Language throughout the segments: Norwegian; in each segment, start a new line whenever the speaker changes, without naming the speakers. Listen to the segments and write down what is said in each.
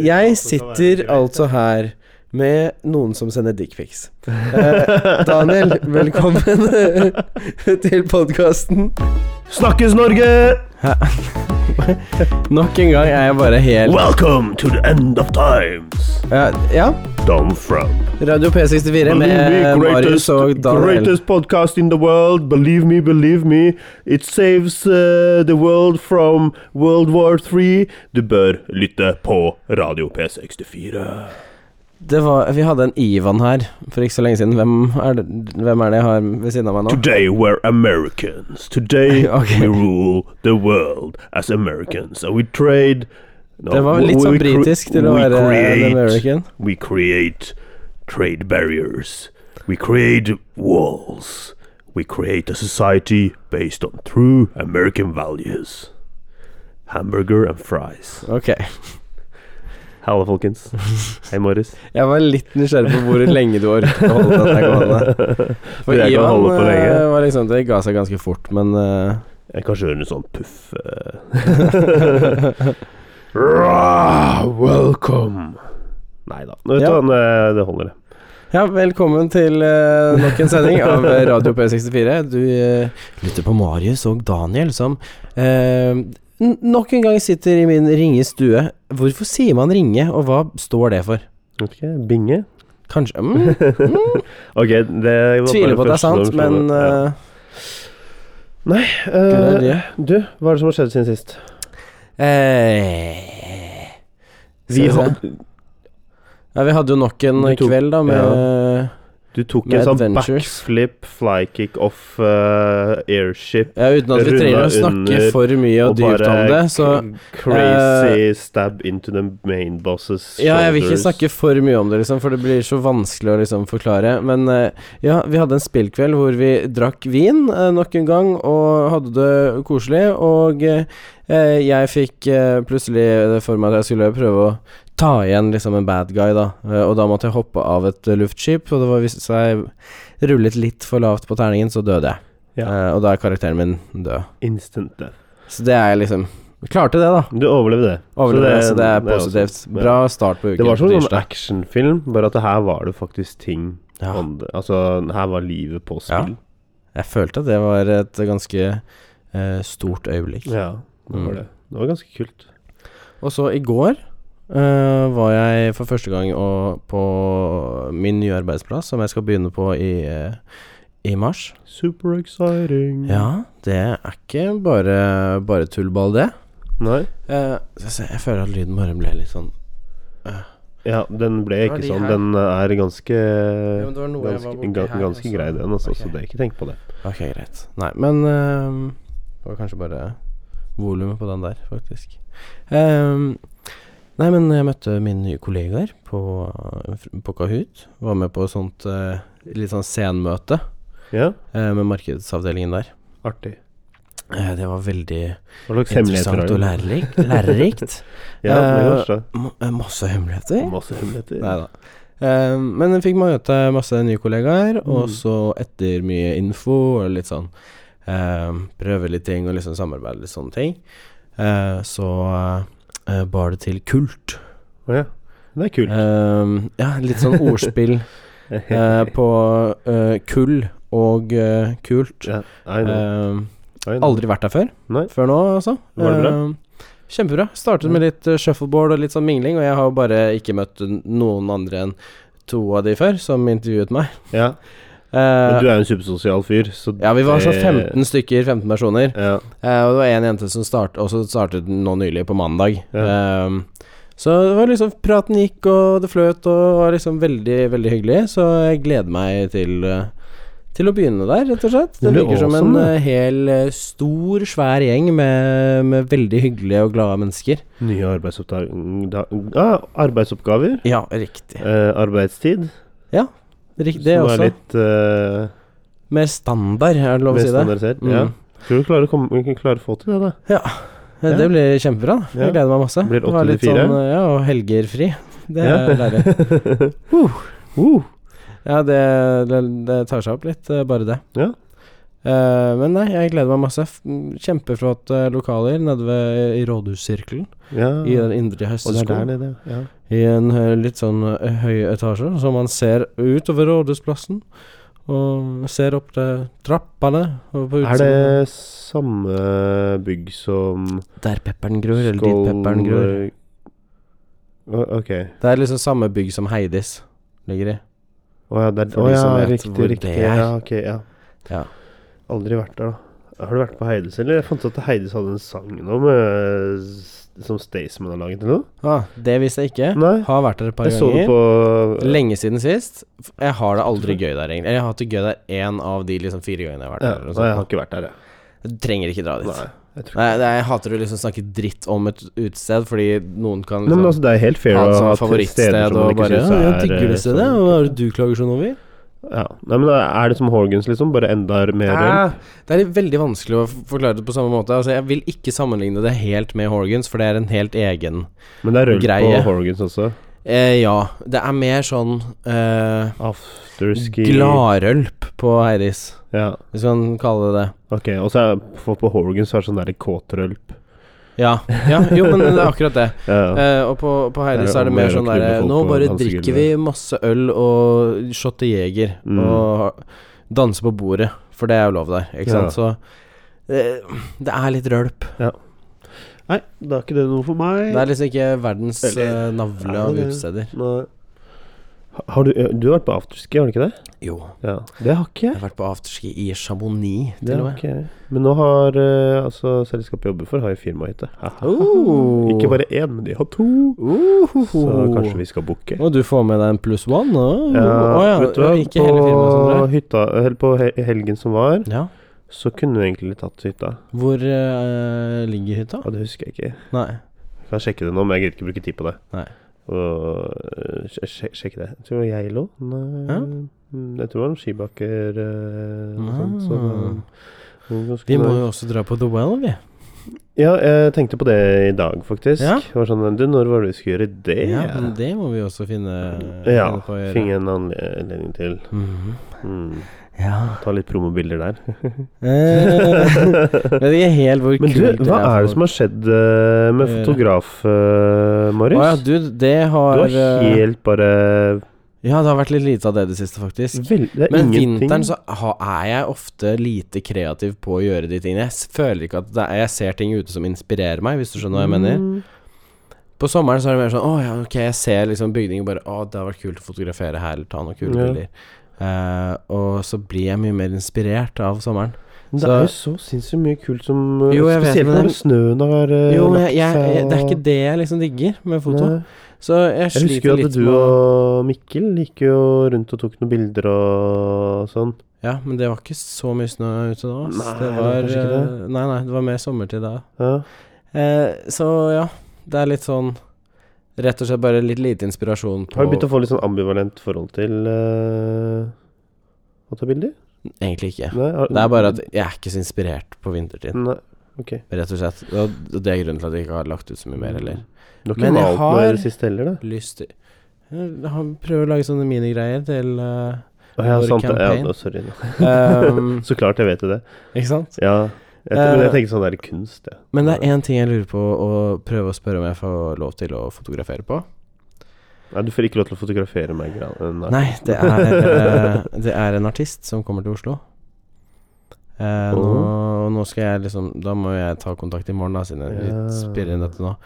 Jeg sitter altså her med noen som sender dickpics. Eh, Daniel, velkommen til podkasten.
Snakkes, Norge!
Nok en gang er jeg bare helt
Welcome to the end of times.
Ja, ja.
Dom From.
Radio P64 med Marius og Daniel.
greatest podcast in the world. Believe me, believe me. It saves uh, the world from World War 3. Du bør lytte på Radio P64.
Det var, vi hadde en Ivan her for ikke så lenge siden. Hvem er det, hvem er det jeg har ved siden av meg nå?
Today we're Americans. Today
Ok.
we rule the world as Americans. And we trade no,
Det var
we-
litt sånn
we cre-
britisk til å
we
være
create-
en American.
We create trade barriers. We create walls. We create a society based on true American values. Hamburger and fries.
Ok.
Halla, folkens. Hei, Morris.
Jeg var litt nysgjerrig på hvor lenge du orket å holde dette gående. For
Jeg kan
Ivan
holde på lenge.
eh, var liksom, det ga seg ganske fort, men eh,
Jeg kan kjøre en sånn puff eh. Rah, Welcome! Nei da. Vet du
Ja.
hva, eh, det holder, det.
Ja, velkommen til eh, nok en sending av Radio P64. Du eh, lytter på Marius og Daniel, som eh, n- nok en gang sitter i min ringe stue. Hvorfor sier man ringe, og hva står det for?
Vet ikke, binge?
Kanskje mm,
Ok, det var
Tviler
bare
på at det er
første
sant,
som slo
men eh,
meg. Ja. Nei.
good
eh,
idea.
du, hva er det som har skjedd siden sist?
Eh, skal
Vi
se.
hadde,
ja, vi hadde jo nok en
Du tok-
kveld, da, med
du tok
Med
en sånn
adventures.
backflip, flykick off eh, airship
ja, Uten at vi
Runda
trenger å snakke
under
for mye og, dypt om det, så eh,
k- crazy stab into the main bosses shoulders.
Ja, jeg vil ikke snakke for mye om det, liksom, for det blir så vanskelig å liksom forklare. Men eh, ja, vi hadde en spillkveld hvor vi drakk vin eh, nok en gang, og hadde det koselig. Og eh, eh, jeg fikk eh, plutselig det for meg at jeg skulle prøve å ta igjen liksom en bad guy, da. Eh, og da måtte jeg hoppe av et eh, luftskip, og det var hvis jeg rullet litt for lavt på terningen, så døde jeg.
Ja.
Eh, og da er karakteren min død.
Instant death.
Så det er liksom Klarte det, da.
Du overlevde det.
Overlevde, så det, er
også-
positivt.
ja.
Bra start på uken.
Det var som en sånn
tirsdag.
actionfilm, bare at her var det faktisk ting
Ja.
om det. Altså, her var livet på spill.
Jeg følte at det var et ganske eh, stort øyeblikk.
Ja, det var
Mm.
det. Det var ganske kult.
Og så i går eh, var jeg for første gang og, på min nye arbeidsplass, som jeg skal begynne på i, eh, i mars.
Super exciting.
Ja, det er ikke bare, bare tullball, det.
Nei?
Eh, skal vi se, jeg føler at lyden bare ble litt sånn
Ja, den ble
Hva er
ikke
de
sånn.
her?
Den er ganske
men det var noe jeg var
Ganske,
borti
ga-
her,
ganske
altså.
grei, den, altså.
Ok.
Så det er ikke tenk på det.
Ok, greit. Nei, men eh, Det var kanskje bare volumet på den der, faktisk. Eh, nei, men jeg møtte mine nye kollegaer på, på Kahoot. Var med på et sånt eh, litt sånn senmøte
Ja,
eh, med markedsavdelingen der.
artig.
Eh, det var veldig
Hva slags hemmeligheter har
interessant
du?
og lærerikt. lærerikt.
Ja, det er
Eh,
kanskje
M- eh, masse hemmeligheter.
Masse hemmeligheter.
Nei da. Eh, men jeg fikk møte masse nye kollegaer, og
Mm.
så etter mye info og litt sånn eh, Prøve litt ting og liksom samarbeide litt sånne ting. eh, så eh, bar det til kult.
Å ja. Det er kult.
Eh, ja, litt sånn ordspill eh, på eh, kull og eh, kult.
ja, I know.
Eh,
I know.
aldri vært der før.
Nei.
Før nå, altså.
Var det bra?
Eh, kjempebra. Startet med litt eh, shuffleboard og litt sånn mingling, og jeg har jo bare ikke møtt n- noen andre enn to av de før, som intervjuet meg.
Ja.
Eh,
Men du Eh. er jo en supersosial fyr, så
ja, vi var sånn
det-
15 stykker, 15 personer.
Ja.
Eh, og det var én jente som start, også startet nå nylig, på mandag.
Ja.
Eh, så det var liksom praten gikk, og det fløt, og var liksom veldig, veldig hyggelig. Så jeg gleder meg til eh, til å begynne der, rett og slett. Det
Det blir
virker som en
awesome, det.
eh, hel eh, stor, svær gjeng med, med veldig hyggelige og glade mennesker.
Nye arbeidsoppda- da- ah, arbeidsoppgaver.
Ja, riktig.
Eh, arbeidstid.
Rik- det
som
også.
er litt eh,
Mer standard, er det lov å
mer
si det?
standardisert.
Mm.
Ja. Tror du klarer å, komme, vi kan klare å få til det, da?
Ja,
Ja.
Det blir kjempebra. da. Jeg
Ja.
gleder meg masse.
Blir
Det var litt
84.
Sånn, ja, og helger fri. Det
Ja.
er deilig.
Uh,
Ja, det, det, det tar seg opp litt, eh, bare det.
Ja.
Eh, men nei, jeg gleder meg masse. F- m, Kjempeflott eh, lokaler nede ved, i Rådhussirkelen.
Ja.
I den indre
Mm. Og det er
høstskolen.
nede, ja.
I en eh, litt sånn eh, høy etasje, så man ser utover Rådhusplassen. Og ser opp til trappene. Og på
Er det samme bygg som
Der pepperen gror, eller dit pepperen gror.
Skål- Å, Ok.
Det er liksom samme bygg som Heidis ligger i.
Å ja, det er,
For
å,
de
ja
som vet
riktig,
hvor det
riktig.
er.
Ja, ok, ja.
Ja.
Aldri vært der, da. Har du vært på Heides, eller? Jeg fant ut at Heides hadde en sang nå med, s- som Staysman har laget, eller noe?
Ah, det visste jeg ikke.
Nei.
Har vært der et par
Jeg så det
ganger.
på
Lenge siden sist. F- Jeg har det aldri gøy der, egentlig. Eller Jeg har hatt det gøy der én av de liksom fire gangene jeg har vært
ja,
der.
Nei, jeg
Eller
har
noe sånt.
ikke vært der, jeg.
Du trenger ikke dra dit.
Nei, jeg tror
Nei, det er- jeg hater å liksom snakke dritt om et utested, fordi noen kan
Nei,
liksom
men altså, det er helt fair
ha
å
det som
ha
et favorittsted og bare Ja, jeg digger det stedet, og hva er det du klager sånn over?
eh, Ja. Nei, men er det som Horgans, liksom? Bare enda mer øl?
Æ, Det er veldig vanskelig å f- forklare det på samme måte. Altså, jeg vil ikke sammenligne det helt med Horgans, for det er en helt egen
Men det er øl
Greie.
på Horgans også.
eh, Ja, det er mer sånn eh,
Afterski
gladrølp på Heiris,
Ja,
hvis man kaller det det.
ok. Og så er for på Horgans så er det sånn derre kåtrølp.
Ja, ja, jo, men det er akkurat det.
Ja, ja.
Eh, og på, på
Det
Heidi
er
så er det
om å
mer
gjøre å
sånn
knulle
derre
folk
Nå
på
bare
dansegulvet."
drikker vi masse øl og shot til jeger
Mm.
og danser på bordet, for det er jo lov der, ikke sant?
Ja.
Så eh, det er litt rølp.
Nei, da er ikke det noe for meg.
Det er liksom ikke verdens
Eller-
eh, navle av
Er det det?
utesteder.
Nei. Ha- Har du, du har vært på afterski, har du ikke det?
Jo.
Ja. Det har ikke
Jeg
jeg.
har vært på afterski i Chamonix,
Det
til og
har
med.
ikke jeg. Men nå har eh, altså selskapet jeg jobber for, har jo firmahytte. Haha.
Oh.
Ikke bare én, men de har to. Så kanskje vi skal booke.
Og du får med deg en pluss one? Å
Ja,
Å ja,
vet du hva,
ikke hele firmaet som
på,
drar.
hytta, eller på he- helgen som var,
Ja.
så kunne vi egentlig tatt hytta.
Hvor eh, ligger hytta?
Ja, det husker jeg ikke.
Nei.
Jeg kan sjekke det nå, men jeg gidder ikke bruke tid på det.
Nei.
Og, øh, sj- sj- sjekke det. Jeg tror det var Geilo. Nei,
Ja.
mm, Jeg tror det var noen skibakker øh, og
Ah.
sånt. Så det var ganske
Vi må
nice.
jo også dra på The Well, vi.
Ja, jeg tenkte på det i dag, faktisk.
Ja.
Det var sånn Du, når var det vi skulle gjøre det?
Ja, men det må vi også finne,
Ja,
finne på å gjøre.
Finne en anledning til.
Mhm.
Mm.
Ja
Ta litt promobilder der.
eh, Vet ikke helt hvor
Men du, hva er det som har skjedd eh, med
Gjøre.
fotograf, eh,
Å
Marius?
ja, du, det har,
du har
eh,
helt bare
Ja, det har vært litt lite av det i det siste, faktisk.
vel, Det er
Men
ingenting
vinteren så ha, er jeg ofte lite kreativ på å gjøre de tingene. Jeg s- føler ikke at det er, jeg ser ting ute som inspirerer meg, hvis du skjønner hva jeg mener.
Mm.
På sommeren så er det mer sånn Å ja, ok, jeg ser liksom bygninger bare Å, det har vært kult å fotografere her, eller ta noen kule
Ja.
bilder. Eh, og så blir jeg mye mer inspirert av sommeren.
Men Det
Så-
er jo så sinnssykt mye kult som uh,
Jo, jeg vet,
Spesielt
men
når
det-
snøen har uh,
Jo, men
lagt
jeg, jeg,
seg
jeg, det er ikke
og-
det jeg liksom digger med foto.
Nei.
Så jeg
Jeg husker
sliter
jo at
litt
du
med å-
og Mikkel gikk jo rundt og tok noen bilder og sånn.
Ja, men det var ikke så mye snø ute da. ass.
Nei,
det
det var
var
kanskje ikke
eh, Nei, nei, det var mer sommertid da.
Ja.
Eh, så ja, det er litt sånn Rett og slett bare litt lite inspirasjon på
Har du begynt å få litt sånn ambivalent forhold til uh, å ta bilder?
Egentlig ikke.
Nei, har-
Det er bare at jeg er ikke så inspirert på vintertid,
Nei, ok.
rett og slett. Og det er grunnen til at jeg ikke har lagt ut så mye mer heller.
Du har ikke
Men jeg
malt noe i
har-
det siste heller, da?
Lyst til Jeg har- Prøver Eh, å lage sånne minigreier til eh,
Å, ja,
Vår
sant. det. Ja,
campaign.
nå, sorry. nå.
ehm,
Så klart jeg vet jo det.
Ikke sant?
Ja. Jeg, men jeg
Eh,
tenker sånn der kunst, jeg.
Men det er én ting jeg lurer på å prøve å spørre om jeg får lov til å fotografere på.
Nei, du får ikke lov til å fotografere meg. Gran. eh, Nei.
Nei, det er, eh, det er en artist som kommer til Oslo. Eh, nå, nå skal jeg liksom Da må jeg ta kontakt i morgen, da, siden jeg
Ja.
litt spiller inn dette nå.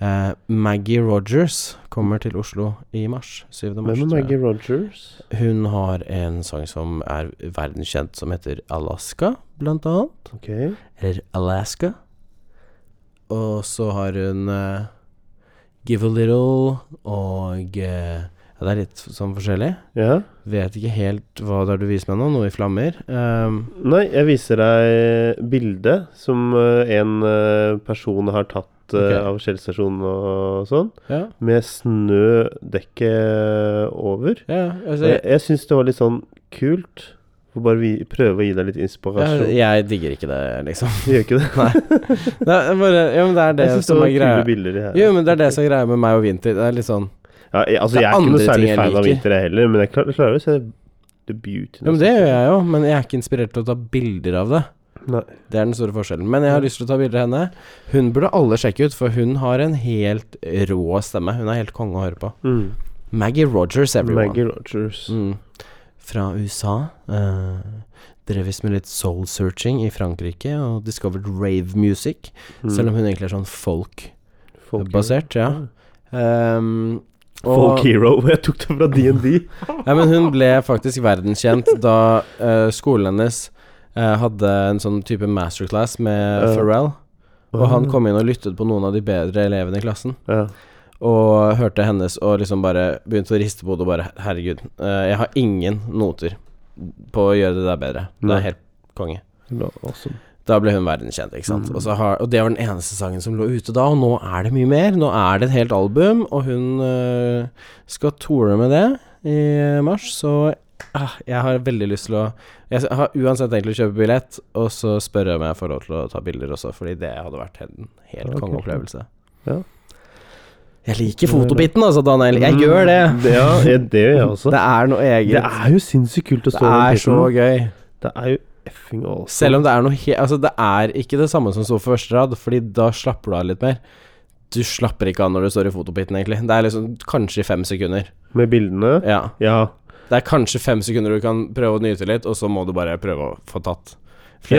Eh, Maggie Rogers kommer til Oslo i mars. 7. mars.
Hvem er
tror jeg.
Maggie Rogers?
Hun har en sang som er verdenskjent, som heter Alaska, blant annet.
Ok.
Eller Alaska. Og så har hun eh, Give a Little og eh, Ja, det er litt sånn forskjellig.
Ja.
Vet ikke helt hva det er du viser meg nå. Noe i flammer. Ehm,
Nei, jeg viser deg bildet som eh, en eh, person har tatt eh,
Ok.
av Kjellstasjonen og sånn,
ja,
med snødekket eh, over.
ja,
Og
altså,
Jeg,
jeg,
jeg syns det var litt sånn kult. Får bare vi, prøve å gi deg litt inspirasjon.
jeg, jeg digger ikke det, liksom.
Du gjør ikke det?
Det er bare, ja, men det er det
jeg syns det
som
var
er
kule
greia.
bilder. De her.
Jo, men det er det som er greia med meg og vinter. Det er litt sånn
Ja, jeg, altså,
Det er
jeg er ikke noe
andre ting
særlig
jeg
fan av
liker.
vinter, jeg heller, men jeg klarer, klarer å se the beauty
Ja, men det gjør jeg jo, men jeg er ikke inspirert til å ta bilder av det.
Nei.
Det er den store forskjellen. Men jeg har lyst til å ta bilder av henne. Hun burde alle sjekke ut, for hun har en helt rå stemme. Hun er helt konge å høre på.
Mm.
Maggie Rogers, everyone.
Maggie Rogers.
Mm. Fra USA. eh, drev visst med litt soul searching i Frankrike, og discovered rave music.
Mm.
Selv om hun egentlig er sånn folk-basert,
Folk- Mm.
ja. Ehm, og-
Folk Hero. Jeg tok det fra DND.
Ja, men hun ble faktisk verdenskjent da eh, skolen hennes eh, hadde en sånn type masterclass med
Ja.
Pharrell. Og
Mm.
han kom inn og lyttet på noen av de bedre elevene i klassen.
Ja.
Og hørte hennes og liksom bare begynte å riste på hodet og bare Herregud, eh, jeg har ingen noter på å gjøre det der bedre. Det
Nei.
er helt konge.
Ja, Awesome.
Da ble hun verdenskjent, ikke sant.
Mm.
Og, så har, og det var den eneste sangen som lå ute da, og nå er det mye mer. Nå er det et helt album, og hun øh, skal toure med det i mars, så ah, jeg har veldig lyst til å Jeg har uansett tenkt å kjøpe billett, og så spørre om jeg får lov til å ta bilder også, fordi det hadde vært en helt
Ja,
kongeopplevelse.
Ja.
Jeg liker fotobiten, altså, Daniel. Jeg gjør det.
Mm, Ja, jeg- det gjør jeg også.
Det er noe
Det
eget.
er jo sinnssykt kult å stå
Det er så
pulten.
gøy.
Det er jo effing awesome.
Selv om det er noe he Altså, det er ikke det samme som å stå på første rad, fordi da slapper du av litt mer. Du slapper ikke av når du står i fotopiten, egentlig. Det er liksom kanskje i fem sekunder.
Med bildene.
Ja.
Ja.
Det er kanskje fem sekunder du kan prøve å nyte litt, og så må du bare prøve å få tatt
ja,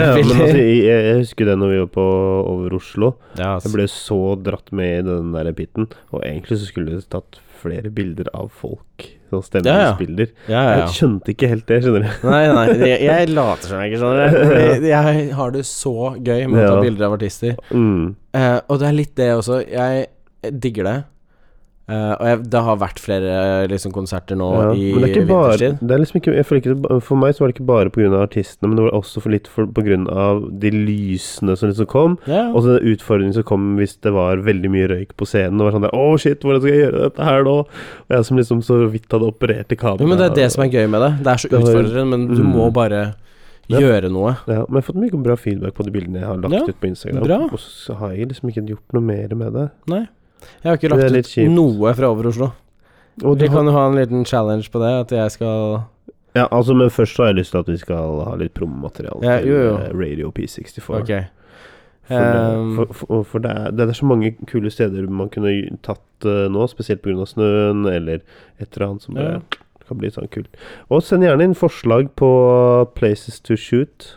flere
ja men altså,
bilder.
jeg, jeg jeg husker det når vi var på over Oslo.
Ja,
Jeg
altså.
ble så dratt med i den der pitten. Og egentlig så skulle det tatt flere bilder av folk. Sånn stemningsbilder.
ja, ja,
Jeg
ja.
skjønte ikke helt det, skjønner du.
Nei, nei, jeg, jeg later som jeg ikke skjønner det. fordi Jeg har det så gøy med å ta
Ja.
bilder av artister.
Mm.
Eh, og det er litt det også. Jeg digger det. Eh, og jeg, det har vært flere eh, liksom, konserter nå
Ja.
i
Men det er ikke bare
vinterstid.
det er liksom ikke, jeg føler ikke, det ba- For meg så var det ikke bare pga. artistene, men det var også for litt for, pga. de lysene som liksom kom.
Ja.
Og så den utfordringen som kom hvis det var veldig mye røyk på scenen. Og var sånn der, Å, shit, hvordan skal jeg gjøre dette her nå? Og jeg som liksom så vidt hadde operert i kameraet.
Jo, men det er det som er gøy med det. Det er så
Det var-
utfordrende, men du
Mm.
må bare
Ja.
gjøre noe.
Ja, men jeg har fått mye bra feedback på de bildene jeg har lagt
Ja,
ut på Instagram.
bra.
Og så har jeg liksom ikke gjort noe mer med det.
Nei. Jeg har ikke
Det er litt
lagt ut
kjipt.
noe fra Over Oslo.
Og du
Vi
har,
kan jo ha en liten challenge på det, at jeg skal
ja, altså, men først så har jeg lyst til at vi skal ha litt promomateriale
Ja,
til
jo, jo.
eh, Radio P64.
Ok.
For, det,
Ehm.
for, for, for det, er, det er så mange kule steder man kunne tatt eh, nå, spesielt pga. snøen eller et eller annet som bare
Ja.
kan bli sånn kult. Og send gjerne inn forslag på places to shoot.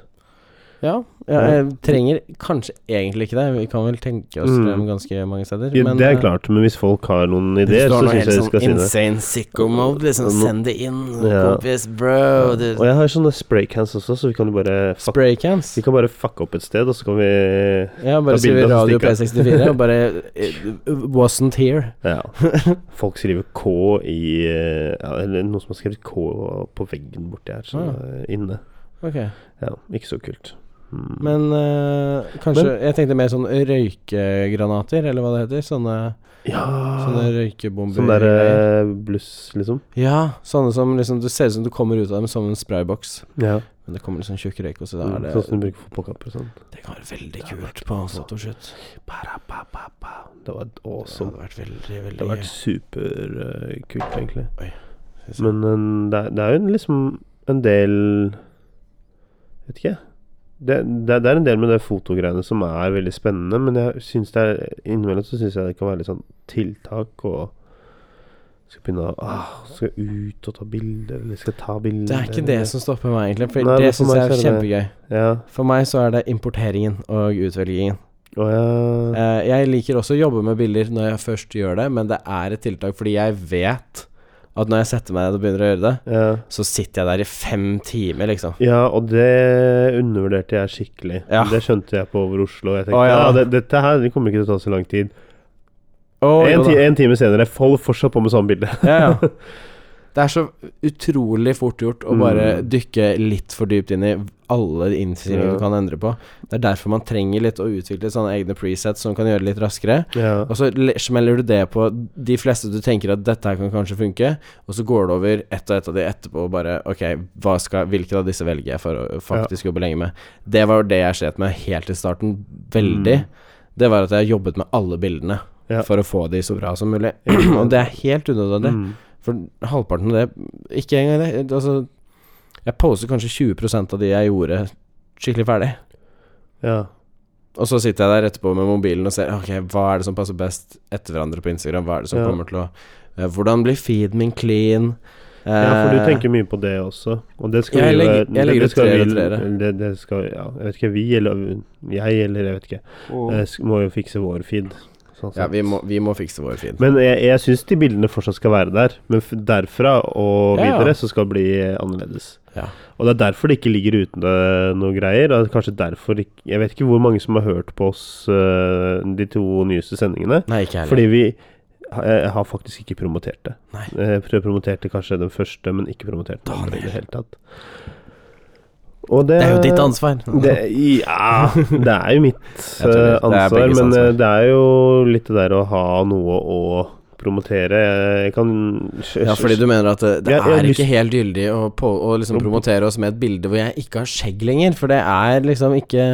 Ja, ja, jeg trenger kanskje egentlig ikke det. Vi kan vel tenke oss
Mm.
frem ganske mange steder.
Ja, det
eh,
er klart, men hvis folk har noen
Hvis
ideer,
du har
så
noe
syns jeg
helt
de skal si
sånn
det.
insane sicko mode, liksom,
Nå-
send det inn,
Ja.
kompis, bro. Du.
Og jeg har sånne spraycans også, så vi kan jo bare fuck,
Spraycans.
vi kan bare fucke opp et sted, og så kan vi
Ja, bare
Ta
skrive
bilder, så
Radio
stikker
P64 og bare eh, Wasn't here.
Ja. Folk skriver K i eh, ja, Eller noen som har skrevet K på veggen borti her, så
Ah.
eh, inne.
Ok.
Ja, ikke så kult. Mm.
Men eh, kanskje Jeg tenkte mer sånn røykegranater, eller hva det heter. Sånne,
Ja
sånne røykebomber.
Ah. Sånn der eh, bluss, liksom.
ja, sånne som liksom Du ser ut som du kommer ut av dem som en sprayboks.
Ja.
Men det kommer liksom tjukk røyk, og så da
Mm, Sånn
er det
som du bruker fotballkamper og sånn.
Det kan være veldig kult på fotoshoot.
Det var
Det
awesome.
hadde vært veldig,
Det
veldig
har vært superkult, eh, egentlig.
gøy.
Men eh, det, er, det er jo liksom en del Vet ikke. Det, det, det er en del med det fotogreiene som er veldig spennende, men jeg synes det er innimellom så syns jeg det kan være litt sånn tiltak og Skal begynne å ah, Skal ut og ta bilder, eller skal ta bilder
Det er ikke det som stopper meg, egentlig. For
Nei,
det
men for
syns jeg
meg
er
så er det
kjempegøy.
Ja.
For meg så er det importeringen og utvelgingen.
Å ja.
Eh, jeg liker også å jobbe med bilder når jeg først gjør det, men det er et tiltak fordi jeg vet at når jeg setter meg ned og begynner å gjøre det,
ja.
så sitter jeg der i fem timer, liksom.
Ja, og det undervurderte jeg skikkelig.
Ja.
Det skjønte jeg på over Oslo. Jeg tenkte
Å,
ja,
ja.
det, dette her det kommer ikke til å ta så lang tid.
Å,
en,
jo da.
ti, en time senere holder fortsatt på med samme bilde.
ja, ja. Det er så utrolig fort gjort å bare dykke litt for dypt inn i alle de innstillinger
Ja.
du kan endre på. Det er derfor man trenger litt å utvikle sånne egne presets som kan gjøre det litt raskere.
Ja.
Og så le- smeller du det på de fleste du tenker at dette her kan kanskje funke, og så går det over ett og ett av de etterpå og bare Ok, hva skal, hvilken av disse velger jeg for å faktisk jobbe lenge med? Det var jo det jeg slet med helt i starten, veldig. Det var at jeg jobbet med alle bildene
Mm. Ja.
for å få de så bra som mulig.
Ja.
og det er helt unødvendig,
Mm.
for halvparten av det Ikke engang det. det- Altså Jeg poser kanskje 20 av de jeg gjorde skikkelig ferdig.
Ja.
Og så sitter jeg der etterpå med mobilen og ser Ok, hva er det som passer best etter hverandre på Instagram. Hva er det som
Ja.
kommer til å eh, Hvordan blir feeden min clean?
ja, for du
Eh,
tenker mye på det også. Og det skal
Jeg
vi jo
legger- jeg
det-
legger
det
ut
skal
treere
vi-
og treere.
Det, det skal Ja, jeg vet ikke. Vi, eller jeg, eller jeg vet ikke. eh, sk- Må jo fikse vår feed. sånn
Ja,
sett.
vi må, vi må fikse vår feed.
Men jeg, jeg syns de bildene fortsatt skal være der. Men f derfra og
Ja, ja.
videre så skal det bli eh, annerledes.
Ja.
Og det er derfor det ikke ligger uten eh, noe greier. Og det er kanskje derfor ikke, Jeg vet ikke hvor mange som har hørt på oss eh, de to nyeste sendingene.
Nei, ikke jeg heller.
Fordi vi ha- eh, har faktisk ikke promotert det.
Nei.
Eh, prøv- promoterte kanskje den første, men ikke promoterte den andre i
Daniel.
det hele tatt. Og det,
Det er jo ditt ansvar.
Det, ja Det er jo mitt
Jeg tror det-
eh,
det er
ansvar,
begges
men eh,
ansvar.
det er jo litt det der å ha noe å promotere. Jeg kan
ja, fordi du mener at det, det
Jeg- jeg har
er
lyst-
ikke helt gyldig å, på, å liksom promotere oss med et bilde hvor jeg ikke har skjegg lenger, for det er liksom ikke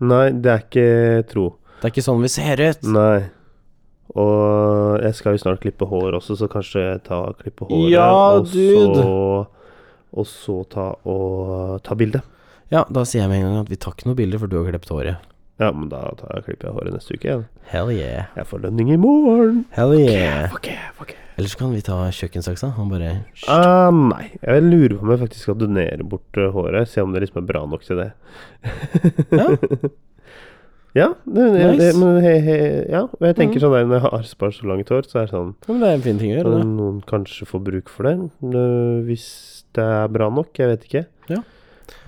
Nei, det er ikke tro.
Det er ikke sånn vi ser ut.
Nei. Og jeg skal jo snart klippe hår også, så kanskje ta klippe håret,
Ja,
og,
dude.
Så, og så ta og ta bilde.
Ja, da sier jeg med en gang at vi tar ikke noe bilde, for du har klippet håret.
Ja, men da tar jeg, klipper jeg håret neste uke igjen.
Hell yeah.
Jeg får lønning i morgen.
Hell yeah.
Fuck yeah, fuck yeah.
Eller så kan vi ta kjøkkensaksa. Han bare
Ah, nei, jeg lurer på om jeg faktisk skal donere bort eh, håret. Se om det liksom er bra nok til det.
Ja.
Ja, det, det,
Nice.
det, men he, he, ja. og jeg tenker sånn der når jeg har spart så langt hår, så er det sånn
Ja, Men det er en fin ting å gjøre,
Kan
det.
noen kanskje får bruk for det, øh, hvis det er bra nok. Jeg vet ikke.
Ja.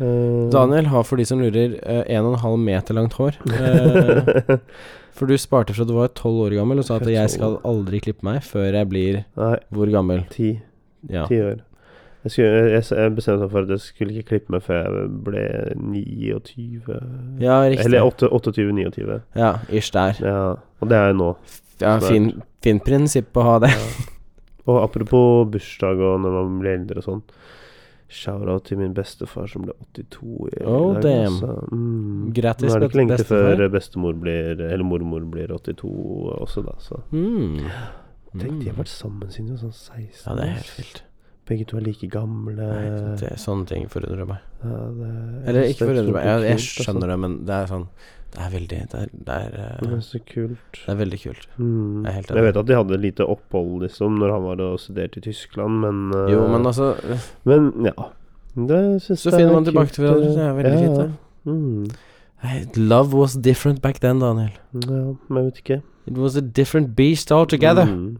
Eh,
Daniel har, for de som lurer, eh, en og en halv meter langt hår. Eh, For du sparte fra du var tolv år gammel og sa at jeg skal aldri klippe meg før jeg blir
Nei,
hvor gammel?
ti,
Ja.
ti år. Jeg, skulle, jeg, jeg bestemte meg for at jeg skulle ikke klippe meg før jeg ble 29
Ja, riktig.
Eller 28-29.
Ja, ish der.
Ja, og det er jeg nå.
Ja, fin, fin prinsipp å ha det.
Og apropos bursdag og når man blir eldre og sånn. Shout-out til min bestefar som ble 82 i
Oh, damn.
altså. Mm.
Grattis,
Nå er det ikke lenge til
bestefar.
før bestemor blir, eller mormor blir 82 også, da. Så
Mm.
tenk, de har
Mm.
vært sammen siden de var sånn 16.
Ja, det er helt
ass.
vilt.
Begge to er like gamle.
Nei, det er Sånne ting forundrer meg.
Ja, det-
Eller
jeg synes
ikke
det er
forundrer meg, jeg, jeg
så kult, altså.
skjønner det, men det er sånn Det er veldig Det er, det er,
Det
eh,
er så kult.
det er veldig kult.
Mm.
Jeg er helt
Jeg
enig.
vet at de hadde lite opphold, liksom, når han var og studerte i Tyskland, men eh,
Jo, men altså
Men ja. Det syns
Så
jeg
finner
er
man tilbake
kult,
til hverandre.
eh,
Det er veldig
ja,
fint,
ja.
det.
Mm.
Nei, Love was different back then, Daniel.
Ja, men jeg vet ikke.
It was a different beast altogether.
Mm.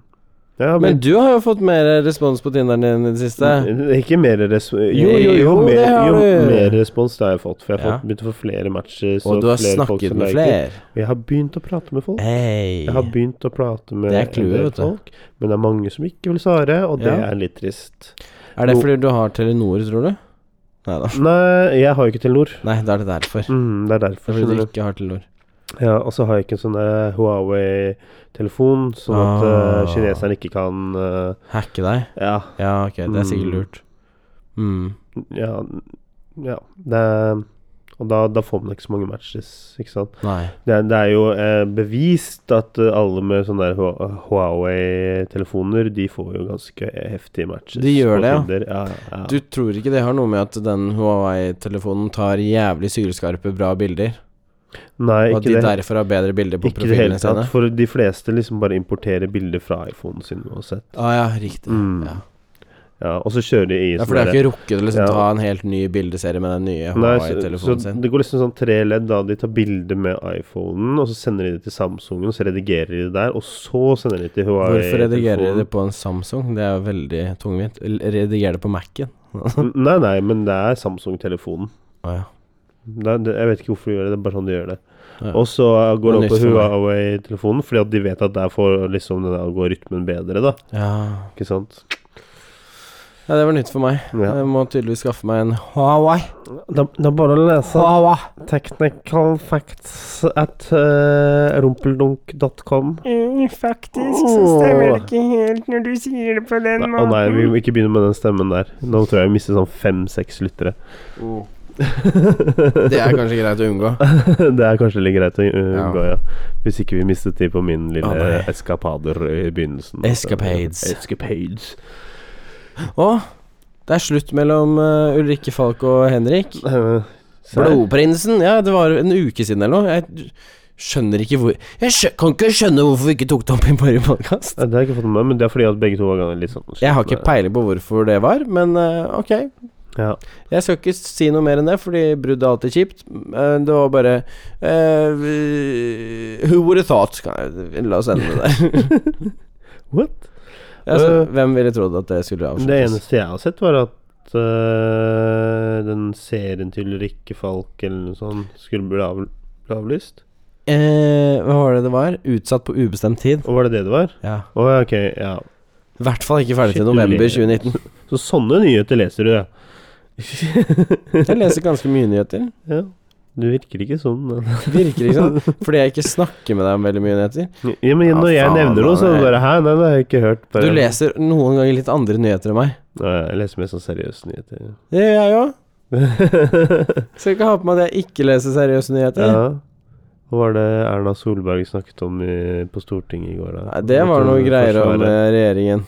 Ja, men,
Men du har jo fått mer eh, respons på Tinderen din i det siste.
det er ikke mer respons Jo, jo, jo,
Jo, det
mer,
har
jo
du.
mer respons det har jeg fått. For jeg har
Ja.
fått- begynt å få flere matcher. så
Og du har
flere folk
snakket
som
med
liker.
flere.
Jeg har begynt å prate med folk.
Hei.
Jeg har begynt å prate med
Eh, Det er clouet,
en del
vet du.
folk, men det er mange som ikke vil svare, og det
Ja.
er litt trist.
Er det fordi du har Telenor, tror du? Nei da.
Nei, jeg har jo ikke Telenor.
Nei, da er det derfor.
Mm, det er
Det
derfor.
er fordi du
skjønner du.
ikke har Telenor.
Ja, og så har jeg ikke en sånn eh, Huawei-telefon, sånn at
Ah.
eh, kineserne ikke kan eh,
Hacke deg?
Ja.
Ja, ok, det er sikkert
Mm.
lurt. Mm.
Ja, ja det, er- Og da, da får man ikke så mange matches, ikke sant.
Nei.
Det, er- det er jo eh, bevist at eh, alle med sånne der Hua- Huawei-telefoner, de får jo ganske heftige matches.
De gjør
på
det, ja.
Tinder. ja. ja, ja.
Du tror ikke det har noe med at den Huawei-telefonen tar jævlig sylskarpe, bra bilder?
Nei,
Og at de
ikke det.
derfor har bedre bilder på
Ikke i det hele
profilene
tatt.
sine?
For de fleste liksom bare importerer bilder fra iPhonen sin uansett.
Å ah, ja, riktig.
Mm.
Ja.
Ja, og så kjører de i sånn
ja, for de har
der-
ikke rukket å liksom
Ja.
ta en helt ny bildeserie med den nye
Nei, så, så
Huawei-telefonen sin?
det går liksom sånn tre ledd. da De tar bilde med iPhonen, og så sender de det til Samsungen, og så redigerer de det der, og så sender de det til Huawei.
Hvorfor redigerer de det på en Samsung? Det er jo veldig tungvint. Eller Rediger det på Mac-en.
Nei, nei, men det er Samsung-telefonen.
Å ja.
Det, er- det, jeg vet ikke hvorfor de gjør det, det er bare sånn de gjør det.
Ja.
Og så går det
Det er
opp på
nytt for meg.
Huawei-telefonen, fordi at de vet at der får liksom den algoritmen bedre, da.
ja.
Ikke sant?
ja, det var nytt for meg.
Ja.
Jeg må tydeligvis skaffe meg en Huawei.
Det er Eh, bare å lese
Huawei.
technical facts at uh, rumpeldunk.com.
Mm, Faktisk så stemmer det ikke helt når du sier det på den
Å nei,
måten.
vi må ikke begynne med den stemmen der. Nå tror jeg jeg mister sånn fem-seks lyttere.
Det er kanskje greit å unngå.
det er kanskje litt greit å uh,
Ja.
unngå, ja. Hvis ikke vi mistet de på min lille
Å, nei.
eskapader i begynnelsen.
Escapades.
Escapades.
Og Det er slutt mellom eh, Ulrikke Falk og Henrik.
Eh, se her.
Blodprinsen? Ja, det var en uke siden eller noe. Jeg skjønner ikke hvor Jeg skjø kan ikke skjønne hvorfor vi ikke tok det opp i forrige podkast.
Nei, Det har jeg ikke fått med meg, men det er fordi at begge to var ganske litt sånn
Jeg har ikke peiling på hvorfor det var, men eh, ok.
Ja.
Jeg skal ikke si noe mer enn det, fordi brudd er alltid kjipt. Eh, det var bare eh, vi- Who would have thought? Kan jeg, la oss ende med det der.
What?
altså,
Eh,
hvem ville trodd at det skulle
Det
avsluttes?
eneste jeg har sett, var at eh, den serien til Rikke Falk eller noe sånt skulle bli av, bli avlyst.
Eh, hva var det det var? Utsatt på ubestemt tid.
Og var det det det var?
Ja.
Å, ja, ok, ja.
I hvert fall ikke ferdig
Shit,
til
du
november
lever.
2019.
Så sånne nyheter leser du, ja.
Jeg leser ganske mye nyheter.
ja. Du virker ikke sånn. men-
Virker ikke sånn. Fordi jeg ikke snakker med deg om veldig mye nyheter.
Ja, men
Ja,
når jeg
faen,
nevner noe, så er det
nei.
bare Hæ, nei, det har jeg ikke hørt. Bare,
Du leser noen ganger litt andre nyheter enn meg.
Nei, jeg leser mer sånn seriøse nyheter.
Det gjør jeg òg. Skal ikke ha på meg at jeg ikke leser seriøse nyheter.
ja. Hva var det Erna Solberg snakket om i, på Stortinget i går, da?
Nei, det var noe greier om
Forsvaret.
eh, regjeringen.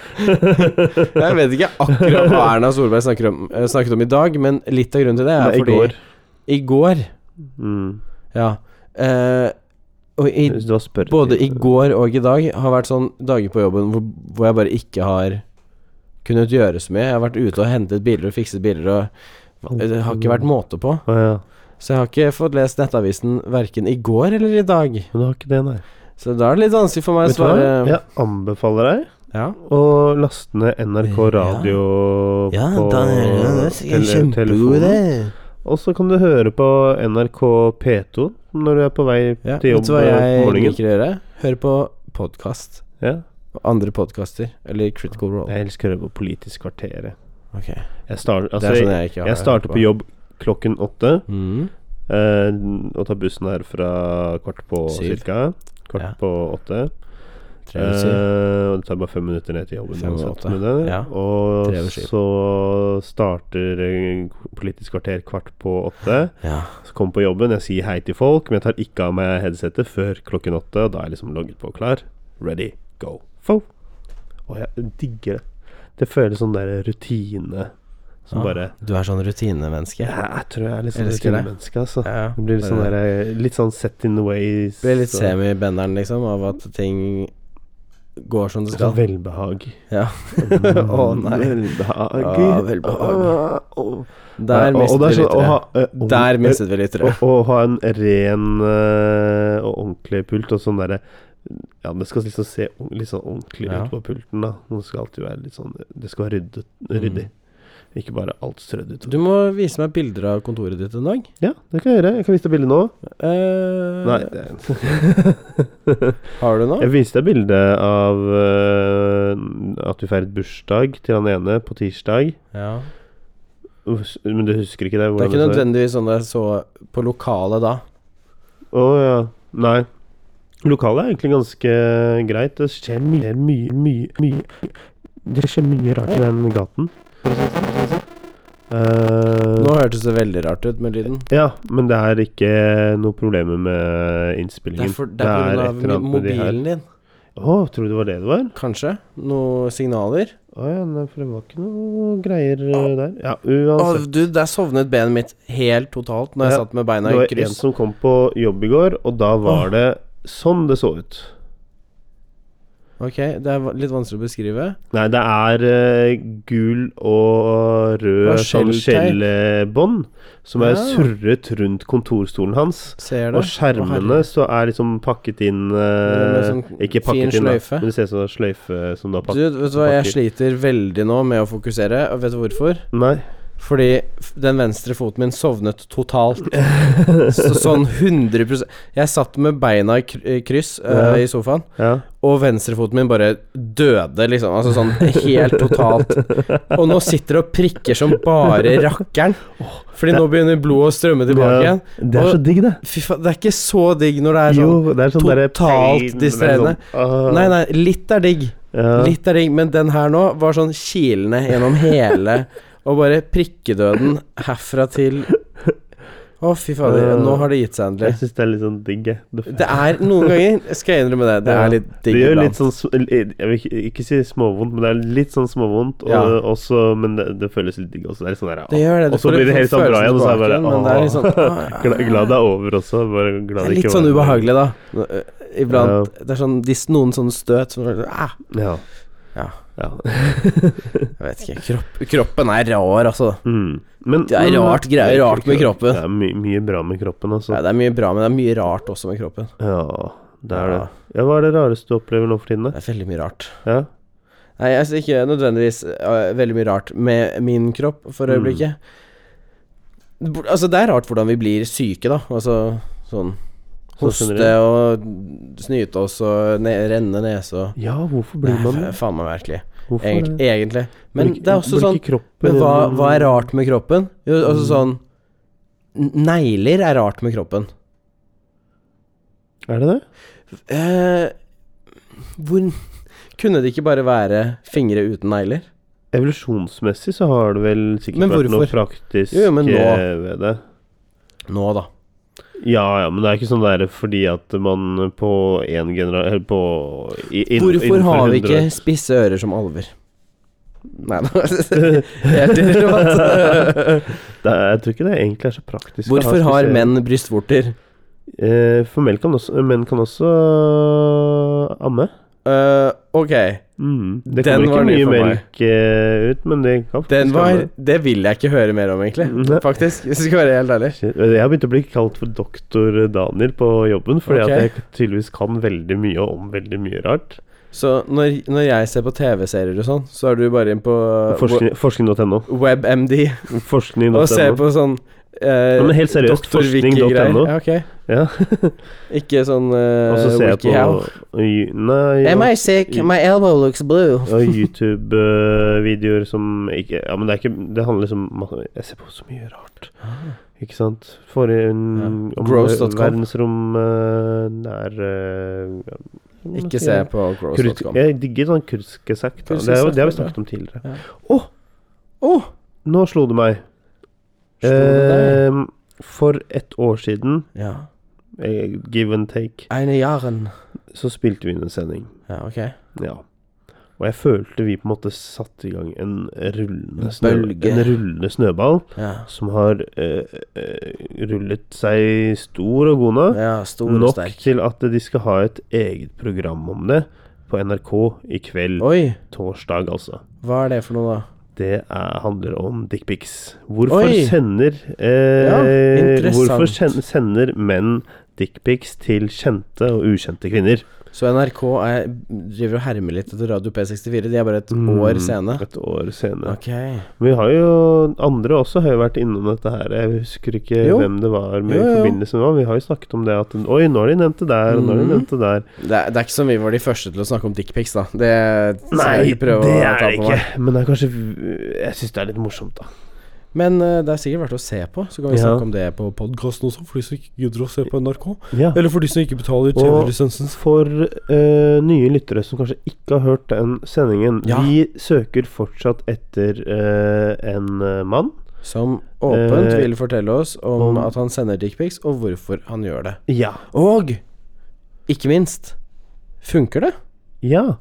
Jeg vet ikke akkurat hva Erna Solberg snakker om, eh, snakket om i dag, men litt av grunnen til det er
Nei, i
fordi
går.
I går,
Mm.
ja. Eh, og i,
Hvis det var spørretid.
både i går og i dag har vært sånn dager på jobben hvor, hvor jeg bare ikke har kunnet gjøre så mye. Jeg har vært ute og hentet biler og fikset biler og
Mm.
Det har ikke vært måte på.
Å ja.
Så jeg har ikke fått lest Nettavisen verken i går eller i dag.
Men du har ikke det, nei.
Så da er det litt vanskelig for meg å
Vet du hva?
svare
Jeg anbefaler deg
Ja.
å laste ned NRK Radio på tele telefonen. Og så kan du høre på NRK P2 når du er på vei
Ja,
til
vet
jobb
du hva
eh, på
jeg
morgenen.
liker å gjøre? Høre på podkast.
Ja.
Og andre podkaster. Eller Critical Role.
Jeg elsker å høre på Politisk kvarter. jeg.
Ok.
Jeg, start,
Det
altså,
er sånn
jeg,
jeg ikke har
jeg starter på jobb klokken åtte.
Mm.
Eh, og tar bussen her fra kvart på
Syv.
cirka. Kvart
Ja.
på åtte.
Tre eller syv.
Eh, og det tar bare fem minutter ned til jobben.
Fem og
uansett
åtte.
med det.
Ja.
Og
Tre over syv.
så starter eh, Politisk kvarter kvart på åtte.
Ja.
Så kommer jeg på jobben, jeg sier hei til folk, men jeg tar ikke av meg headsetet før klokken åtte. Og da er jeg liksom logget på og klar. Ready, go, fo. Og jeg digger det. Det føles sånn der rutine som
Ah,
bare
Du er sånn rutinemenneske.
Jeg, jeg tror jeg er litt sånn
Elsker det.
rutinemenneske, altså.
Ja.
Det blir litt sånn, der, litt sånn set in the ways.
Blir litt
og-
semi-benderen, liksom, av at ting går som det skal.
Sånn velbehag.
Ja.
Mm,
Å, nei.
Velbehag.
Ja, velbehag.
Å, å.
Der
Og- og
mistet
det er
vi
sånn å
lyttere.
ha, eh, ord-
Der mistet vi lyttere.
Å å ha en ren eh, og ordentlig pult, og sånn derre Ja, det skal liksom se ord- litt sånn ordentlig
Ja.
ut på pulten, da. Det skal alltid være litt sånn Det skal være ryddet,
Mm.
ryddig. Ikke bare alt strødd ut.
Du må vise meg bilder av kontoret ditt en dag.
Ja, det kan jeg gjøre. Jeg kan vise deg bildet nå.
Eh,
Nei, det
Har du noe?
Jeg viste deg bildet av eh, at vi feiret bursdag til han ene på tirsdag.
Ja.
Hus- Men du husker ikke det?
Det er
hvordan
ikke
så-
nødvendigvis sånn jeg så på lokalet da.
Å ja. Nei. Lokalet er egentlig ganske greit. Det skjer mye, mye, mye, mye. Det skjer mye rart i den gaten.
sånn,
Eh,
Nå hørtes det veldig rart ut med lyden.
ja, men det er ikke noe problemer med
Det
innspillingen.
er, for, det er på grunn av
med de her.
mobilen din.
Å, tror du det var det det var?
Kanskje? Noen signaler?
Å ja, nei, for det var ikke noe greier eh, der. Ja,
Å,
uansett.
du, der sovnet benet mitt helt totalt når jeg
Ja,
satt med beina
Det
i
var en
kryss.
som kom på jobb i går, og da var det sånn det så ut.
Ok, det er va- litt vanskelig å beskrive.
Nei, det er eh, gul og
Og
rød sånn
skjellteip.
skjellebånd som er
Ja.
surret rundt kontorstolen hans.
Ser det.
Og skjermene så er liksom pakket inn eh,
Det er med sånn
Ikke
fin
pakket inn, da,
sløyfe.
men det ser ut som en sløyfe som du har
Du,
pakket
vet du hva, jeg sliter veldig nå med å fokusere, og vet du hvorfor?
Nei.
Fordi f- den venstre foten min sovnet totalt. Så, sånn 100 Jeg satt med beina i kry- i kryss eh,
Ja.
i sofaen,
Ja.
og venstrefoten min bare døde, liksom. Altså sånn helt totalt. Og nå sitter det og prikker som bare rakkeren. Fordi nå begynner blodet å strømme tilbake
Ja,
igjen.
Det er så
Og-
digg, det.
Fy faen, det er ikke så digg når det er sånn.
jo, det er sånn derre
totalt
pain,
distraherende.
det er sånn, ah,
Nei, nei, litt er digg.
ja.
Litt er digg, men den her nå var sånn kilende gjennom hele Og bare prikkedøden herfra til Å, fy fader.
Ja.
Nå har det gitt seg endelig.
Jeg syns det er litt sånn digg, jeg. Det,
Det er noen ganger, skal jeg innrømme det, det
Ja.
er litt digg
det gjør
iblant.
litt sånn sm- eller, Jeg vil ikke, ikke si småvondt, men det er litt sånn småvondt. Og,
Ja.
også, men det, det føles litt digg også. Det er litt sånn der,
Det gjør det. Du
Og så
får-
blir det helt
får
sånn bra
følelsen
igjen, og så er jeg
tilbake
bare
igjen, men det er litt
«Åh».
sånn,
Glad, glad det er over også. Bare
Det
glad
er
det
litt
ikke
sånn
var-
ubehagelig, da. Nå, eh, Iblant. Det er sånn dis, noen sånne støt som ah,
Ja.
Ja.
Ja.
Jeg vet ikke. Kropp, kroppen er rar, altså.
Mm. Men,
Det er
men-
rart greier,
det er
rart med kroppen.
Det er my mye bra med kroppen,
Nei,
altså.
det er mye bra, men det er mye rart også med kroppen.
Ja, det er det.
Ja.
Ja, hva er det rareste du opplever nå for tiden, da?
Det er veldig mye rart.
Ja.
Nei, jeg synes ikke nødvendigvis øh, veldig mye rart med min kropp for
Mm.
øyeblikket. Det bor- Altså, det er rart hvordan vi blir syke, da. Altså sånn
Sånn
hoste
generelt.
og snyte oss og ne renne nese og
Ja, hvorfor
Nei,
blir man
fa-
det?
faen meg virkelig.
Hvorfor
Egent,
det?
egentlig. Men
Blir ikke-
det er også
blir
sånn
ikke kroppen
Men hva,
en-
hva er rart med kroppen? Jo, altså sånn n- Negler er rart med kroppen.
Er det det?
Eh, hvor Kunne det ikke bare være fingre uten negler?
Evolusjonsmessig så har det vel sikkert
Men
vært noe
hvorfor?
praktisk
Jo, jo, men nå-
eh, ved det.
Nå, da.
Ja, ja, men det er ikke sånn der fordi at man på en genera... eller På i- inn-
Hvorfor
innenfor
har vi
100
ikke spisse ører som alver? Nei da Helt irrelevant.
det er, Jeg tror ikke det egentlig er så praktisk. å ha
Hvorfor har
spesielt-
menn brystvorter?
Eh, For menn kan også, menn kan også amme.
Eh, ok,
Mm. Det
Den
kommer
var ny
ikke mye
for meg.
melk eh, ut, men det kan faktisk
den var
amme.
Det vil jeg ikke høre mer om, egentlig.
Nei.
Faktisk. Hvis jeg skal være helt ærlig.
Shit. Eh, Jeg har begynt å bli kalt for doktor Daniel på jobben, fordi
Ok.
at jeg tydeligvis kan veldig mye om veldig mye rart.
Så når, når jeg ser på TV-serier og sånn, så er du bare inn på
Forskning- Forskning.no.
WebMD
Forskning.no.
og ser på sånn eh,
Ja, men helt seriøst,
Dr. Wiki-greier.
forskning.no.
Ja, ok.
Ja.
Ikke sånn eh,
Og så ser jeg på
WikiHow.
y- Nei, ja.
Am I sick? My elbow looks blue.
og YouTube-videoer som ikke Ja, men det er ikke Det handler liksom om- Jeg ser på så mye rart.
Ah.
Ikke sant? Forrige mm, om
Gross.com.
Verdensrom eh, nær eh, ja, hva
Ikke
sier
se
jeg?
på
Kursk-
gross.com.
Jeg digger sånn kurskesekt. da. Det, er jo- det har vi snakket om tidligere. Å!
Ja.
Å! Nå slo det meg.
Slo det
Eh, for ett år siden,
Ja.
eh, give and take,
Eine Jaren.
så spilte vi inn en sending.
Ja, ok.
Ja. Og jeg følte vi på en måte satte i gang en rullende,
En
snø,
bølge.
en rullende snøball
Ja.
som har eh, eh, rullet seg stor og god nå.
ja stor og
Nok
sterk.
til at de skal ha et eget program om det på NRK i kveld.
Oi,
Torsdag, altså.
hva er det for noe, da?
Det er, handler om dickpics. Hvorfor
Oi!
sender eh,
Ja, interessant.
Hvorfor sen, sender menn dickpics til kjente og ukjente kvinner?
Så NRK er, driver og hermer litt etter Radio P64. De er bare et
Mm.
år sene.
Et år senere.
Ok.
Vi har jo Andre også har jo vært innom dette her. Jeg husker ikke
Jo.
hvem det var med
Jo, jo,
i
jo.
forbindelse med hva. Vi har jo snakket om det at Oi, nå har de nevnt det der, og nå har de
Mhm.
nevnt det der.
Det er, det er ikke som vi var de første til å snakke om dickpics, da. Det skal jeg
Nei,
ikke prøve å
det er
ta
det
på
ikke.
meg.
Men det er kanskje Jeg syns det er litt morsomt, da.
Men eh, det er sikkert verdt å se på. Så kan vi
Ja.
snakke om det på podkasten også, for de som ikke gidder å se på NRK.
Ja.
Eller for de som ikke betaler
TV-lisensen. sånn For eh, nye lyttere som kanskje ikke har hørt den sendingen
Ja.
Vi søker fortsatt etter eh, en eh, mann.
Som åpent
Eh,
vil fortelle oss om
om-
at han sender dickpics, og hvorfor han gjør det.
Ja.
Og ikke minst Funker det?
Ja.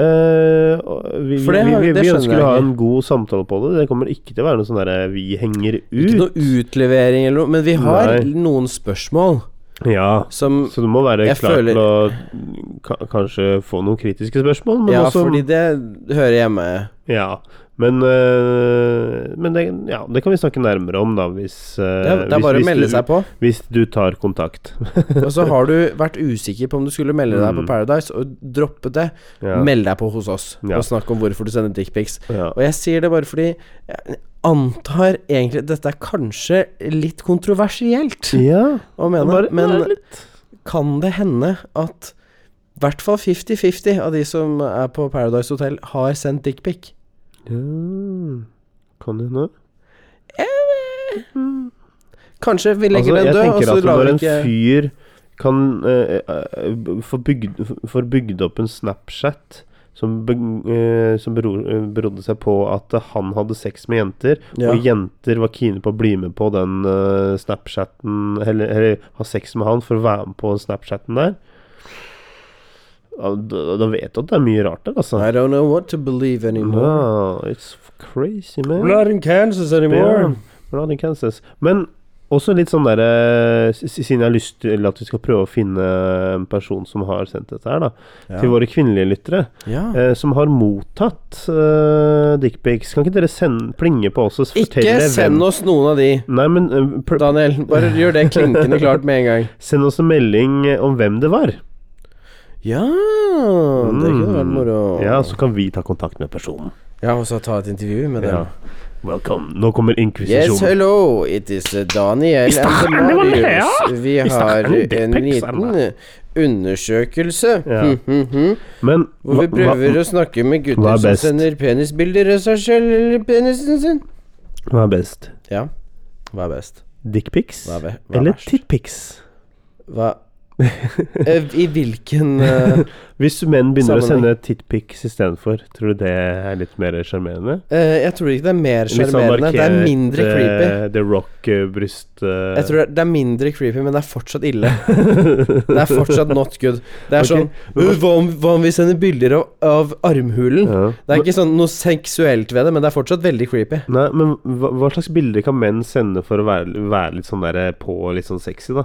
Eh, og vi,
For det
vi,
har-
vi,
det
vi
skjønner
ønsker
jeg
å ha
ikke.
en god samtale på det. Det kommer ikke til å være noe sånn derre vi henger
Ikke
ut.
noe utlevering eller noe, men vi har
Nei.
noen spørsmål
Ja.
som
Så du må være
Jeg
klar
føler-
til å ka kanskje få noen kritiske spørsmål, men
Ja,
også
fordi det hører hjemme
Ja, men, øh, men det, ja, det kan vi snakke nærmere om, da, hvis øh,
Det er, det er
hvis,
bare å
hvis
melde
du,
seg på.
Hvis du tar kontakt.
Og så har du vært usikker på om du skulle melde deg på
Mm.
Paradise, og droppet det.
Ja,
Meld deg på hos oss
Ja.
og snakk om hvorfor du sender dickpics.
ja.
Og jeg sier det bare fordi jeg antar egentlig at dette er kanskje litt kontroversielt
ja
å mene,
bare, bare
men
litt.
kan det hende at i hvert fall 50-50 av de som er på Paradise Hotel, har sendt dickpic?
Ja. Kan hende.
Kanskje vi legger
Altså, jeg
den død, og
tenker
så
at
lar
når
vi
en eh,
ikke
fyr kan øh, øh, øh, få bygd, får bygd opp en Snapchat som, be, eh, som bero- eh, berodde seg på at eh, han hadde sex med jenter,
Ja.
og jenter var kine på å bli med på den eh, Snapchatten eller, eller ha sex med han for å være med på Snapchatten der. Ja, Da, da vet du at det er mye rart der, altså.
I don't know what to believe anymore.
Ja, it's f- crazy, man.
We're not in Kansas anymore.
Ja, we're not in Kansas. Men også litt sånn derre Siden jeg har lyst til at vi skal prøve å finne en person som har sendt dette her, da.
Ja.
Til våre kvinnelige lyttere,
Ja.
eh, som har mottatt eh, dickpics. Kan ikke dere sende, plinge på oss og
Eh, Ikke
fortelle
send oss noen av de,
Nei, men eh, pr
Daniel. Bare gjør det klinkende klart med en gang.
send oss en melding eh, om hvem det var.
Ja Det kunne vært moro.
Mm. Ja, så kan vi ta kontakt med personen.
Ja, og så ta et intervju med dem.
Ja. Welcome. Nå kommer
Yes,
inkvisisjonen.
hello, it is uh, Daniel and
Stakkaren, det var
Marius. Vi har eh,
Stakkaren, det er
en
peks, er det
liten uh, undersøkelse
Ja.
hm, hm, hm,
men
hvor vi
hva-
prøver å snakke med
hva
gutter
er
som
best?
sender penisbilder av seg selv eller penisen sin.
hva, hva er best?
Ja, hva er best?
Dickpics
Hva er, ve- hva er
eller
verst?
tittpics?
Hva Eh, I hvilken uh,
Hvis menn begynner å
Sammenheng.
sende tittpics istedenfor, tror du det er litt mer sjarmerende?
eh, Jeg tror ikke det er mer
Litt sånn
sjarmerende. Det er
markert,
mindre creepy.
eh, The Rock-bryst eh,
Jeg tror det er- det er mindre creepy, men det er fortsatt ille. Det er fortsatt not good. Det er
Ok.
sånn «Øh, hva om, hva om vi sender bilder av, av armhulen?
ja.
Det er ikke sånn noe seksuelt ved det, men det er fortsatt veldig creepy.
Nei, men hva, hva slags bilder kan menn sende for å være, være litt sånn der på og litt sånn sexy, da?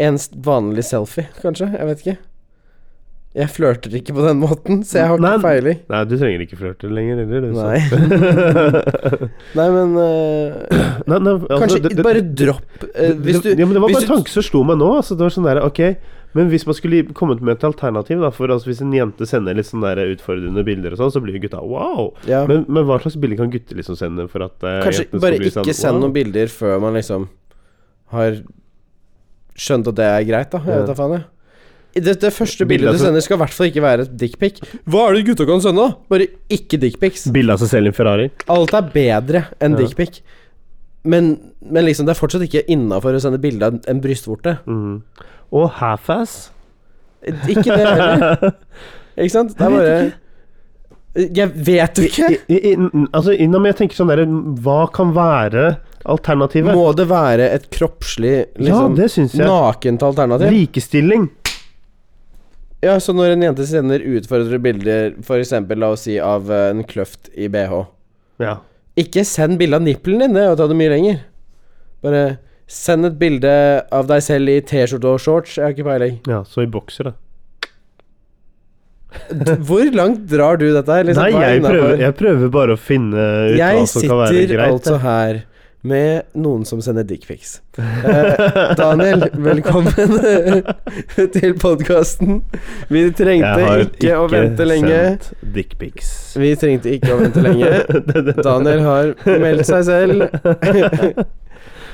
En s- vanlig selfie, kanskje? Jeg vet ikke. Jeg flørter ikke på den måten, så jeg har
Nei.
ikke peiling.
Nei, du trenger ikke flørte lenger heller, du. så.
Nei. Nei, men øh,
nei, nei, altså,
Kanskje
det- det-
bare dropp øh, Hvis du
det, ja, men det var
hvis
bare en
du-
tanke som slo meg nå. Altså, det var sånn der, ok Men hvis man skulle kommet med et alternativ, da For altså, hvis en jente sender litt sånn der utfordrende bilder, og sånn så blir jo gutta wow.
ja.
Men, men hva slags bilder kan gutter liksom sende for at eh,
Kanskje
jentene skal
bare
bli sånn,
ikke send
wow?
noen bilder før man liksom har skjønt at det er greit, da. Jeg
Ja.
vet da faen, jeg. Det, det første
Bilder
bildet du
fra-
sender, skal i hvert fall ikke være et dickpic. Hva er det gutta kan sende, da? Bare ikke dickpics.
Bilde av seg selv i en Ferrari.
Alt er bedre enn
Ja.
dickpic. Men, men liksom, det er fortsatt ikke innafor å sende bilde av en- en brystvorte.
Mhm. Og half-ass.
Ikke det heller. Ikke sant? Det er bare Jeg vet jo ikke.
I, i, i, n- altså, innom jeg tenker sånn derre Hva kan være alternativet?
Må det være et kroppslig, liksom,
ja, det syns jeg.
nakent alternativ?
Likestilling.
Ja, så når en jente sender utfordrende bilder, f.eks. la oss si av eh, en kløft i bh
Ja.
Ikke send bilde av nippelen din, det er å ta det mye lenger. Bare send et bilde av deg selv i T-skjorte og shorts, jeg har ikke peiling.
ja så i bokser, da.
D- Hvor langt drar du dette her? liksom?
Nei,
Hva er
jeg
innenfor?
prøver, jeg prøver bare å finne ut hva
Jeg
som kan være
sitter
greit.
altså her med noen som sender dickpics. Eh, Daniel, velkommen til podkasten. Vi
Jeg
trengte
har
ikke å vente lenge.
sendt dickpics.
Vi trengte ikke å vente lenge. Daniel har meldt seg selv.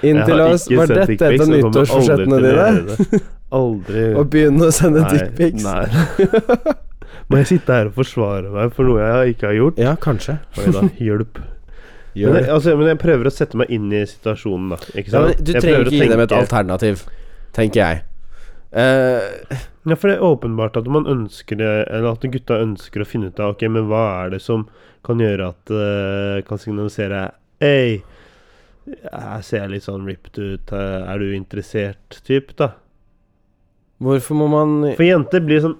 Inn til oss. Var dette et av nyttårsforsettene dine?
Aldri.
Å begynne å sende
Nei,
dickpics?
nei. Må jeg sitte her og forsvare meg for noe jeg ikke har gjort?
Ja, kanskje.
Oi da, hjelp. Men jeg, altså, men jeg prøver å sette meg inn i situasjonen, da. Ikke
Ja,
sant?
men du
Jeg
trenger
prøver å
ikke gi dem et
tenke-
alternativ, tenker jeg. Eh,
Ja, for det er åpenbart at man ønsker det, eller at gutta ønsker å finne ut av Ok, men hva er det som kan gjøre at eh, Kan signalisere Hei, jeg ser litt sånn ripped ut, eh, er du interessert? Typ, da.
hvorfor må man
For jenter blir sånn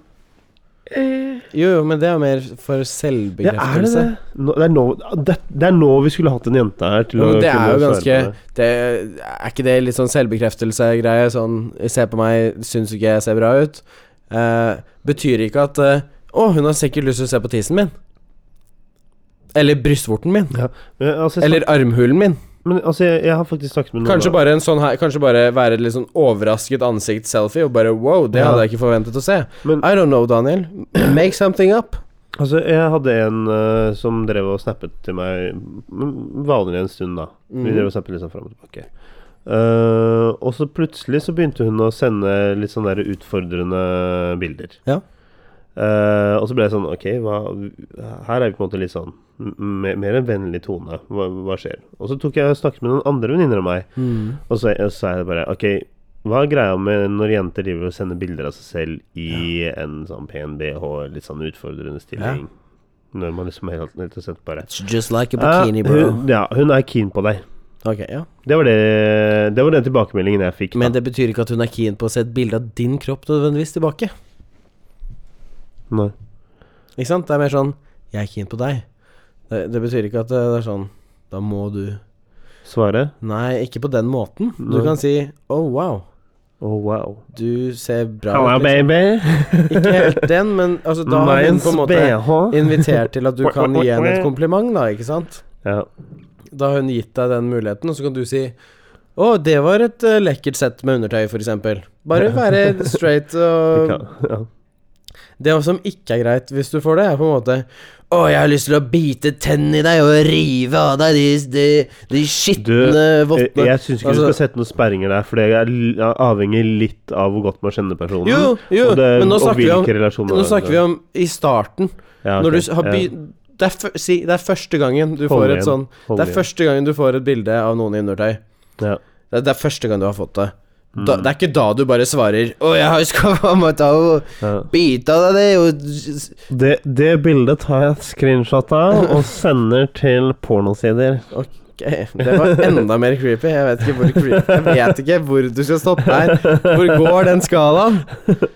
Jo, jo, men det er mer for
Eh, Ja, er det
selvbekreftelse.
det? Nå, det, er nå, det, det er nå vi skulle hatt en jente her til
Jo, men det er jo
kunne svare
ganske
på det.
det, Er ikke det litt sånn selvbekreftelse-greie? Sånn Se på meg, syns ikke jeg ser bra ut. Eh, betyr ikke at eh, Å, hun har sikkert lyst til å se på tissen min. Eller brystvorten min.
Men, altså, jeg,
Eller armhulen min.
snak- men altså, jeg, jeg har faktisk snakket med noen
Kanskje bare en sånn her Kanskje bare være et litt sånn overrasket ansikt-selfie og bare wow, det
Ja.
hadde jeg ikke forventet å se.
Men-
I don't know, Daniel. Make something up.
Altså, jeg hadde en eh, som drev og snappet til meg mm, vanlig en stund, da.
Mhm.
Vi drev og snappet litt sånn fram og tilbake. Eh, og så plutselig så begynte hun å sende litt sånn der utfordrende bilder.
Ja.
Eh, og så ble jeg sånn Ok, hva, her er vi på en måte litt sånn m- mer, mer en vennlig tone.
Mm.
Hva, hva skjer? Og så tok jeg og snakket med noen andre venninner av meg, og så og så sa jeg bare Ok, Hva er greia med når jenter driver og sender bilder av seg selv i en sånn pen bh, litt sånn utfordrende stilling? Når man liksom helt, helt og slett bare
It's just like a
Eh,
bikini, bro.
Hun, ja, hun er keen på deg.
Ok, ja.
Det var, det, det var den tilbakemeldingen jeg fikk. da.
Men det betyr ikke at hun er keen på å se et bilde av din kropp nødvendigvis tilbake.
Nei.
Ikke sant? Det er mer sånn 'jeg er keen på deg'. Det, det betyr ikke at det er sånn 'da må du'
Svaret?
Nei, ikke på den måten. Du
Nei.
kan si 'oh wow,
Oh, wow.
du ser bra
Halla,
ut'. liksom.
baby.
Ikke helt den, men altså, da har hun
Minds
på en måte
BH.
invitert til at du kan gi henne et kompliment, da, ikke sant?
Ja.
Da har hun gitt deg den muligheten, og så kan du si 'Å, det var et eh, lekkert sett med undertøy', f.eks. Bare være straight og
Ja. ja.
Det som ikke er greit hvis du får det, er på en måte Å, jeg har lyst til å bite tennene i deg og rive av deg de, de, de skitne
eh, Jeg,
vottene.
jeg syns ikke du
Altså-
skal sette noen sperringer der, for det er l- avhenger litt av hvor godt man kjenner personen.
Jo, jo,
og det,
men nå
og
snakker, vi om,
hvilke relasjoner
nå snakker vi om i starten.
Ja, ok.
Når du har by,
Ja,
det, er, fø- si, det er første gangen du
Hold
får et
igjen,
sånn
hold
Det er
igjen.
første gangen du får et bilde av noen i undertøy.
Ja.
Det er, det er første gang du har fått det. Da,
Mm.
det er ikke da du bare svarer 'Å, jeg har skaffa meg ta og
ja.
bite av deg det', og
Det, det bildet tar jeg et screenshot av og sender til pornosider.
Ok, Det var enda mer creepy. Jeg vet ikke hvor, creepy. Jeg vet ikke hvor du skal stoppe her. Hvor går den skalaen?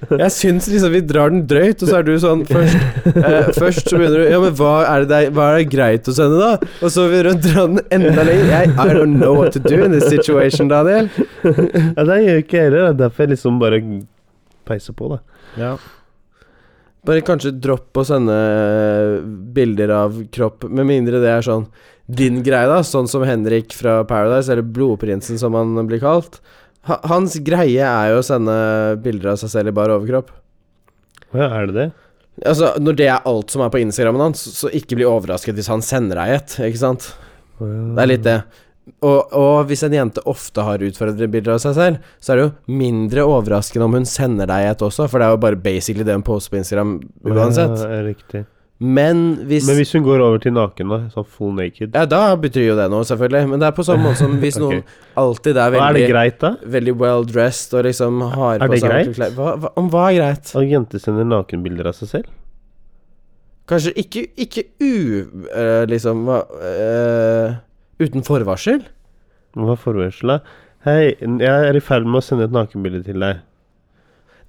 Jeg syns liksom vi drar den drøyt, og så er du sånn Først, eh, først så begynner du Ja, men hva er, det det, er- hva er det greit å sende, da? Og så begynner du å dra den enda lenger. Jeg, I don't know what to do in this situation, Daniel.
Ja, det gjør jeg ikke heller. Det er derfor jeg liksom bare peiser på, da.
Bare kanskje dropp å sende bilder av kropp, med mindre det er sånn din greie, da. Sånn som Henrik fra Paradise, eller Blodprinsen som han blir kalt. Ha- Hans greie er jo å sende bilder av seg selv i bar overkropp.
Ja, er det det?
Altså, Når det er alt som er på Instagrammen hans, så ikke bli overrasket hvis han sender deg et. ikke sant? Det er litt det. Og, og hvis en jente ofte har utfordrende bilder av seg selv, så er det jo mindre overraskende om hun sender deg et også, for det er jo bare basically det hun poster på Instagram uansett.
Ja, er riktig.
Men hvis,
Men hvis hun går over til naken, da? Sånn full naked?
Ja, da betyr jo det noe, selvfølgelig, men det er på samme måte som hvis noen
Ok.
alltid er
Er det
veldig,
greit, da?
veldig well dressed og liksom har
Er
på
det
seg
greit?
ordentlige klær. Hva, hva, om hva er greit?
At jenter sender nakenbilder av seg selv?
Kanskje ikke, ikke u... eh, liksom hva, eh, Uten forvarsel?
Hva er forvarsela? Hei, jeg er i ferd med å sende et nakenbilde til deg.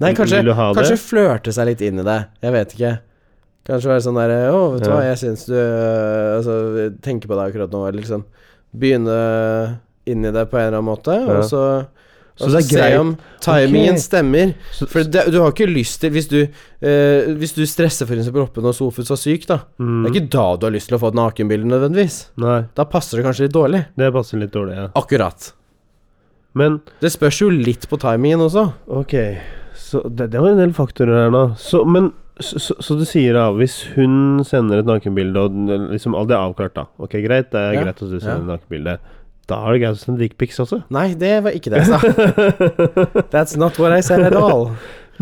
Nei,
Vil-
kanskje,
vil du ha det?
kanskje flørte seg litt inn i det. Jeg vet ikke. Kanskje være sånn derre Å, vet du
Ja.
hva, jeg syns du øh, Altså, jeg tenker på deg akkurat nå, eller liksom Begynne inn i det på en eller annen måte,
Ja.
og så
Så
og
det er greit.
Se om timingen
Ok.
stemmer.
Så,
For det, du har ikke lyst til Hvis du, øh, hvis du stresser for eksempel oppe når Sofus var syk, da Det er ikke da du har lyst til å få et nakenbilde, nødvendigvis.
Mm, Nei,
Da passer det kanskje litt dårlig.
det passer litt dårlig, ja.
Akkurat.
Men
Det spørs jo litt på timingen også.
ok, så det, det var en del faktorer her nå. Så, men så, så, så du sier da, hvis hun sender et nakenbilde, og den- liksom alt er avklart, da. Ok, greit, det er
Ja,
greit at du
ja.
sender et nakenbilde. Da er det greit å sende dickpics også.
Nei, det var ikke det jeg sa. That's not what I said at all.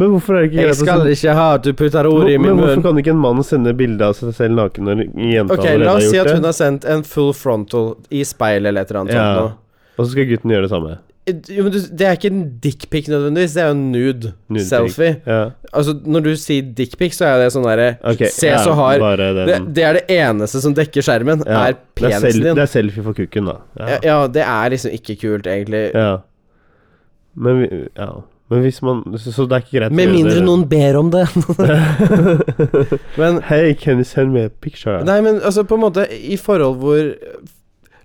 Men hvorfor er det ikke
Jeg
greit å
skal
sende
ikke ha at du putter
Hvor-
ord i min
Men hvorfor
munn.
kan ikke en mann sende bilde av seg selv naken når jenta
Ok,
allerede
la
har
oss si
gjort
at
det?
hun har sendt en full frontal i speil eller et eller annet
Ja.
sånt noe.
Og så skal gutten gjøre det samme.
Jo, men du- Det er ikke en dickpic nødvendigvis, det er jo en nude,
Nude
selfie.
Ja.
Altså, når du sier dickpic, så er det sånn derre
Ok,
Se
ja,
så hard.
Bare den.
Det, det er det eneste som dekker skjermen,
Ja,
er penisen
det er, sel-
din.
det er selfie for kukken, da.
ja. ja, det er liksom ikke kult, egentlig.
Ja. Men, vi- ja. Men hvis man Så, så det er ikke greit å
Med
gjøre
mindre
det.
noen ber om det. men
Hey, can you send me a picture?
Nei, men altså, på en måte, i forhold hvor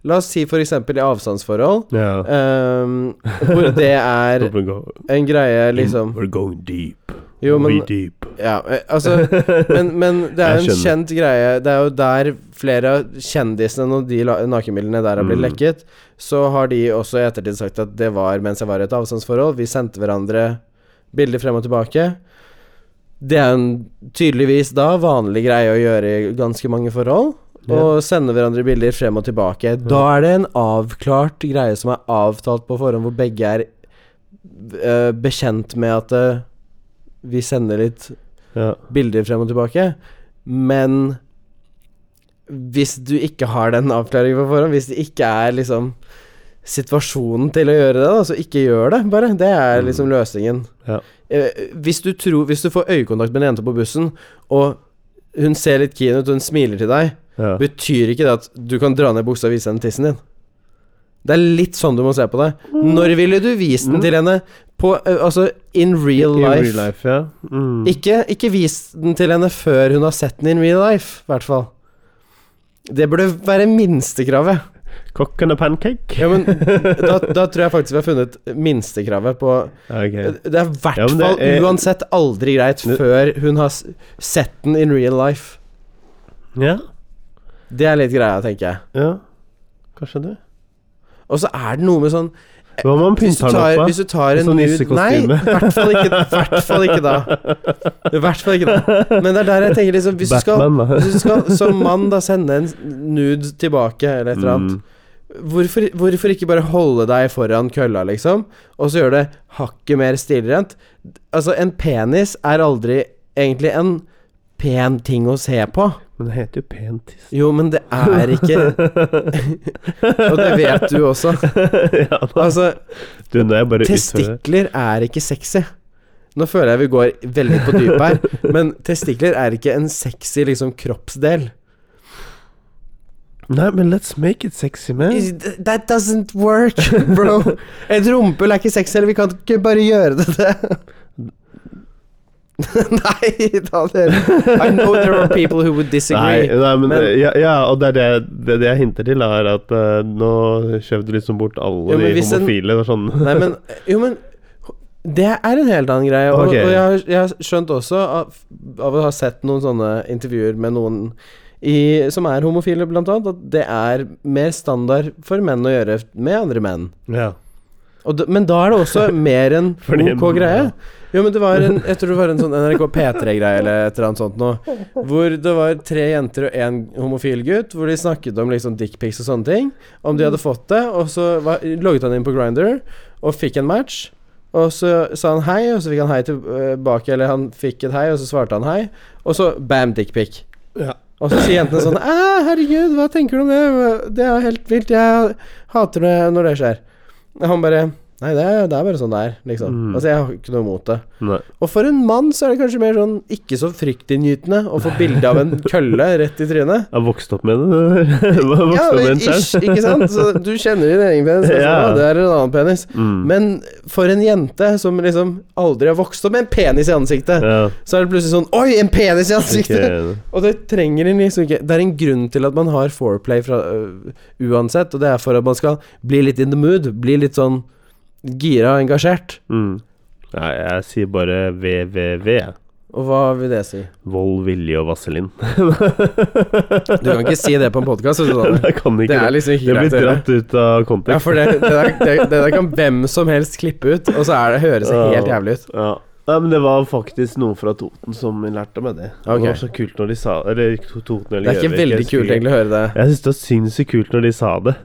La oss si for eksempel i avstandsforhold.
Ja.
Ehm, hvor det er
We're go-
en greie, Eh, liksom
We're going deep.
Jo, men
We deep.
Ja, eh, altså Men, men det er jo
Jeg
en kjent greie. Det er jo der flere av kjendisene, når de la- nakenbildene der har blitt
Mm.
lekket, så har de også i ettertid sagt at det var mens jeg var i et avstandsforhold. Vi sendte hverandre bilder frem og tilbake. Det er en tydeligvis da vanlig greie å gjøre i ganske mange forhold.
Ja.
Å sende hverandre bilder frem og tilbake. Da er det en avklart greie som er avtalt på forhånd, hvor begge er eh, bekjent med at eh, vi sender litt
Ja.
bilder frem og tilbake. Men hvis du ikke har den avklaringen på forhånd, hvis det ikke er liksom situasjonen til å gjøre det, da, så ikke gjør det, bare. Det er liksom løsningen.
Mm. Ja.
Eh, hvis, du tror, hvis du får øyekontakt med en jente på bussen, og hun ser litt keen ut, og hun smiler til deg,
Ja.
betyr ikke det at du kan dra ned buksa og vise henne tissen din. Det er litt sånn du må se på det. Når ville du vist den til henne? På, eh, altså in real
Mm. I
life.
real life ja. Mm.
Ikke, ikke vis den til henne før hun har sett den in real life, i hvert fall. Det burde være minstekravet.
Kokken og pancake.
Ja, men da, da tror jeg faktisk vi har funnet minstekravet på
Ok.
Det er i hvert
Ja, men det
fall
er-
uansett aldri greit
Nu-
før hun har s- sett den in real life.
Ja,
Det er litt greia, tenker jeg.
ja. Kanskje det.
Og så er det noe med sånn
Hva om man
Eh, Hvis du
pynter den
tar,
opp,
hvis du tar en
Sånn
nude Nei,
nissekostyme.
i hvert fall ikke, i hvert fall ikke da. I hvert fall ikke da. Men det er der jeg tenker liksom Hvis du skal,
Batman, da.
hvis du skal som mann da sende en nude tilbake eller et eller annet
Mm.
Hvorfor, hvorfor ikke bare holde deg foran kølla, liksom, og så gjøre det hakket mer stilrent? Altså, en penis er aldri egentlig en pen ting å se på.
Men det heter jo pentis.
Jo, men det er ikke Og det vet du også.
ja, da.
Altså,
Du, nå er jeg bare utfører.
testikler er ikke sexy. Nå føler jeg vi går veldig på dypet her, men testikler er ikke en sexy liksom kroppsdel.
Nei, men let's make it sexy, man.
That doesn't work, bro. Et rumpehull er ikke sexy, eller vi kan ikke bare gjøre det det. Nei, Daniel. I know there are people who would
Nei,
disagree.
nei, men,
Men-
ja, ja, og det er det, det, er det jeg hinter til, er at eh, nå skjøv du liksom bort alle
Jo, men
de
hvis en-
homofile. og sånn.
Nei, men Jo, men det er en helt annen greie. Og,
Ok.
og jeg, har, jeg har skjønt også, av, av å ha sett noen sånne intervjuer med noen i, som er homofile, blant annet, at det er mer standard for menn å gjøre med andre menn.
ja.
Og d- men da er det også mer enn
Fordi-
OK greie. Jo, men det var en, jeg tror det var en sånn NRK P3-greie eller et eller annet sånt noe. Hvor det var tre jenter og én homofil gutt, hvor de snakket om liksom dickpics og sånne ting. Om de hadde fått det, og så var, logget han inn på Grinder og fikk en match. Og så sa han hei, og så fikk han hei tilbake, eller han fikk et hei, og så svarte han hei. Og så bam, dickpic.
Ja.
Og så sier jentene sånn Æ, herregud, hva tenker du om det? Det er jo helt vilt. Jeg hater det når det skjer. Og han bare Nei, det er, det er bare sånn det er, liksom.
Mm.
Altså, jeg har ikke noe imot det.
Nei.
Og for en mann så er det kanskje mer sånn ikke så fryktinngytende å få bilde av en kølle rett i trynet.
Jeg har vokst opp med det. Jeg har vokst
Ja,
opp med en
ish,
selv.
ikke sant? Så du kjenner din egen penis, og så,
Ja.
«Å, det er en annen penis.
Mm.
Men for en jente som liksom aldri har vokst opp med en penis i ansiktet,
ja.
så er det plutselig sånn Oi, en penis i ansiktet!
Ikke-
Og det trenger en liksom ikke Det er en grunn til at man har foreplay fra, øh, uansett, og det er for at man skal bli litt in the mood, bli litt sånn gira og engasjert.
Mm. Nei, jeg sier bare VVV. jeg.
Og hva vil det si?
Vold, vilje og vaselin.
Du kan ikke si det på en podkast. Det
Jeg kan ikke
er
det.
liksom ikke
Det blir
greit å gjøre.
dratt ut av
Ja,
kontekst.
for det, det, der, det, det der kan hvem som helst klippe ut, og så er det, høres det helt jævlig ut.
Ja. Nei, men det var faktisk noen fra Toten som lærte meg det.
Ok.
Det var så kult når de sa Eller to- Toten
Det
eller
er ikke
Gjøvik, jeg
veldig
husker
kult egentlig å høre det.
Jeg syns det var sinnssykt kult når de sa det.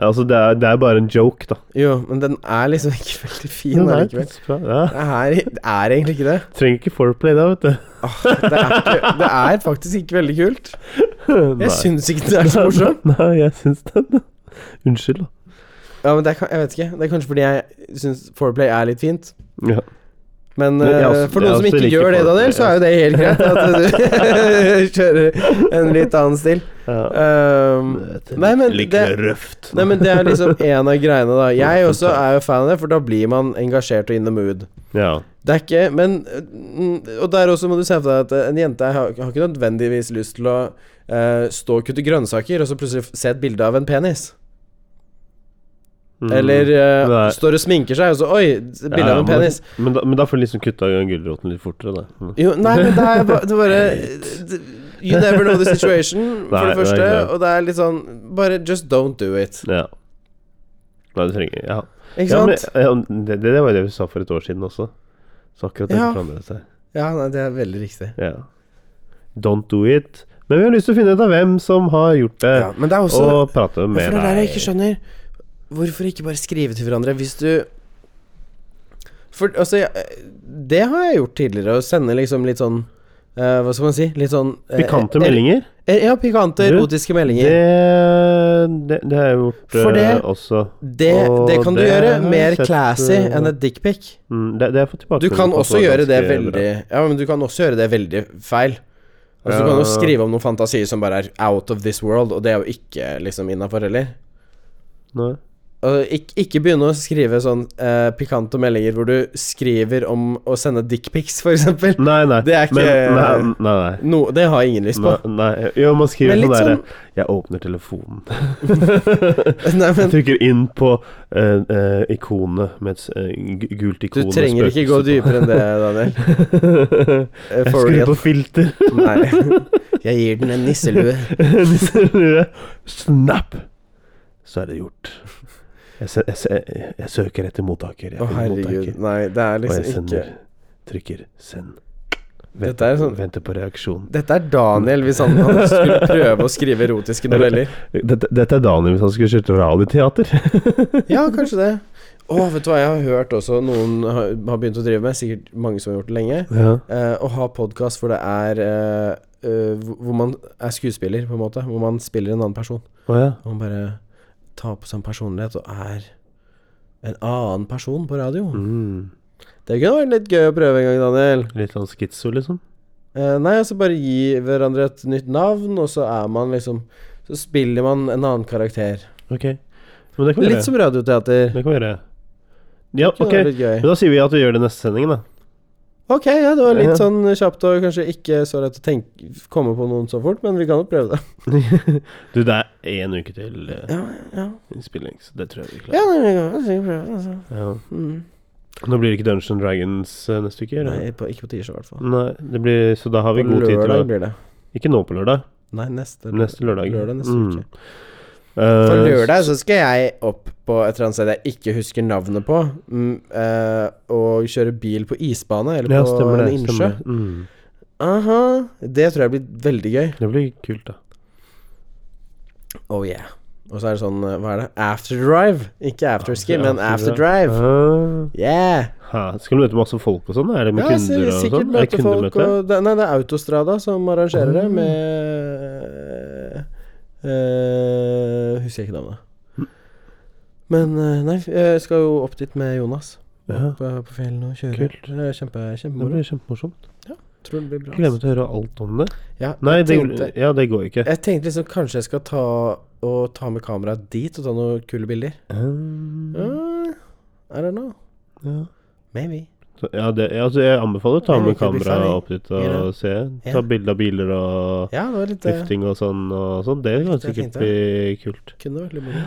Altså, det er, det er bare en joke, da.
Jo, men den er liksom ikke veldig fin
Men det er
allikevel.
faktisk bra. Ja.
Det er, det er egentlig ikke det.
Trenger ikke foreplay da, vet du.
Det er, ikke, det er faktisk ikke veldig kult.
Nei.
Jeg syns ikke det er så morsomt.
Nei, jeg syns det. Unnskyld, da.
Ja, men det er, kan- jeg vet ikke. Det er kanskje fordi jeg syns Foreplay er litt fint.
Ja.
Men
Men jeg
eh,
også-
for
jeg
noen som
også
ikke
liker
gjør det,
Foreplay,
Daniel, så er jo det helt greit. At du kjører en litt annen stil.
ja. Ehm,
Um, nei, men
Litt
det-
røft.
nei, men det er liksom en av greiene, da. Jeg også er jo fan av det, for da blir man engasjert og in the mood.
Ja.
Det er ikke Men mm, Og der også må du se for deg at eh, en jente har, har ikke nødvendigvis lyst til å eh, stå og kutte grønnsaker, og så plutselig f- se et bilde av en penis.
Mm.
Eller eh,
Nei.
står og sminker seg, og så Oi, bilde
Ja,
av en
men-
penis.
Men da, men da får du liksom kutta gulroten litt fortere, da. Mm.
Jo, nei, men det er bare, det er bare det- You never know the situation, for
Nei,
det
det er
første.
ikke det.
og det er litt sånn Bare just don't do it.
Ja. Nei, du trenger Ja.
Ikke
Ja, men,
sant?
ja, det, det var jo det vi sa for et år siden også. Så akkurat det
Ja.
forandret seg.
Ja, nei, det er veldig riktig.
Ja. Don't do it. Men vi har lyst til å finne ut av hvem som har gjort det,
Ja, men det er også
og prate
For det
med
er der jeg ikke
deg.
skjønner Hvorfor ikke bare skrive til hverandre hvis du For altså jeg, Det har jeg gjort tidligere, å sende liksom litt sånn eh, Hva skal man si? Litt sånn eh,
Pikante
er-
meldinger.
er- Ja, pikante,
Du,
erotiske meldinger.
Det, det, det har jeg gjort
For
eh,
det-
også.
Det,
Og
det kan du
det
gjøre
har jeg
mer
sett,
classy
eh,
enn et dickpic.
Mm, det, det har jeg fått tilbake.
Du kan også gjøre det veldig Ja, men du kan også gjøre det veldig feil. Altså, Du kan jo
Ja.
skrive om noen fantasier som bare er out of this world, og det er jo ikke liksom innafor heller.
Nei.
Og ikke, ikke begynne å skrive sånn eh, pikante meldinger hvor du skriver om å sende dickpics, f.eks.
nei, nei.
Det er ikke-
Men, nei, nei, nei.
No, det har ingen lyst på.
Nei, nei. Jo, man
Men
skriver sånn
litt
derre
sånn-
Jeg åpner telefonen.
Nei,
Jeg
men
trykker inn på eh, eh, ikonet med et s- eh, gu- gult
du
ikon. med
trenger ikke gå
spøkelse
dypere enn det, Daniel.
på.
Eh,
jeg
forward
skrur på filter.
igjen. Nei. Jeg gir den en nisselue.
Snap! Så er det gjort. Jeg, se, jeg, se, jeg søker etter mottaker. Jeg
Å,
finner
herregud.
mottaker.
Nei, det er
Og jeg
liksom ikke
sender Trykker 'send'.
Dette er
Venter,
sånn-
venter på reaksjon.
Dette er Daniel hvis han, han skulle prøve å skrive erotiske noveller.
Dette, dette er Daniel hvis han skulle kjørt radioteater.
Ja, kanskje det. Å, vet du hva, jeg har hørt også noen har, har begynt å drive med, sikkert mange som har gjort det lenge,
Ja.
eh, å ha podkast hvor det er eh, eh, hvor- Hvor man er skuespiller, på en måte. Hvor man spiller en annen person.
Å ja.
Og man bare tar på seg en personlighet og er en annen person på radio.
Mm.
Det kunne vært litt gøy å prøve en gang, Daniel.
Litt sånn skitso, liksom.
Eh, nei, altså bare gi hverandre et nytt navn, og så er man liksom Så spiller man en annen karakter.
Ok. Men det kan vi
Litt
gjøre.
som radioteater.
Det kan vi gjøre. Ja,
Kunne
ok.
vært litt gøy.
Men da sier vi at vi gjør det neste sending, da.
Ok, ja, det var
Ja.
litt sånn kjapt og kanskje ikke så lett å tenke, komme på noen så fort, men vi kan jo prøve det.
Du, det er én uke til eh,
Ja, ja.
innspilling, så det tror jeg vi
Ja,
klarer.
nei, vi kan sikkert prøve det. Altså.
Ja.
Mm.
Nå blir det ikke Dungeons and Dragons eh, neste uke, gjør det?
Nei, på, ikke på tirsdag i hvert fall.
Nei, det blir, så da har vi
På
god tid til å
lørdag blir det.
Ikke nå på lørdag,
Nei, neste
neste lørdag.
Lørdag neste
Mm.
uke.
Eh,
På lørdag så skal jeg opp på et eller annet sted jeg ikke husker navnet på, mm, eh, og kjøre bil på isbane eller
ja,
på
stemmer det.
en innsjø.
Stemmer. det. Mm.
Aha, det tror jeg blir veldig gøy.
Det blir kult, da.
Oh yeah. Og så er det sånn, eh, hva er det? Afterdrive. Ikke afterski,
Ja,
men
after
afterdrive.
Ah.
Yeah.
Ha, skal du møte masse folk og sånn? Er det med
Ja,
kunder
sikkert-
og
sikkert
sånn? Er det
møte folk
kundemøte?
og det, Nei, det er Autostrada som arrangerer det med eh, Husker jeg ikke navnet. Men eh, nei, jeg skal jo opp dit med Jonas.
Ja,
Opp eh, på fjellene og kjøre.
Kult.
Det er kjempe,
det
kjempemoro.
blir kjempemorsomt.
Tror det blir bra.
Gleder meg til å høre alt om det.
Ja,
Nei,
jeg,
det,
tenkte,
ja, det går ikke.
jeg tenkte liksom kanskje jeg skal ta og ta med kameraet dit og ta noen kule bilder.
Um,
Uh, I don't know.
ja.
Maybe.
Så, ja, det, ja, altså, jeg anbefaler å ta
Ja,
med
det blir
kamera
funny.
opp dit og
You know.
se. Ta
Ja.
bilde av biler og
Ja, det var litt eh,
lufting og sånn. Og sånn. Det kan
Det er fint,
sikkert bli kult.
Kunne vært litt moro.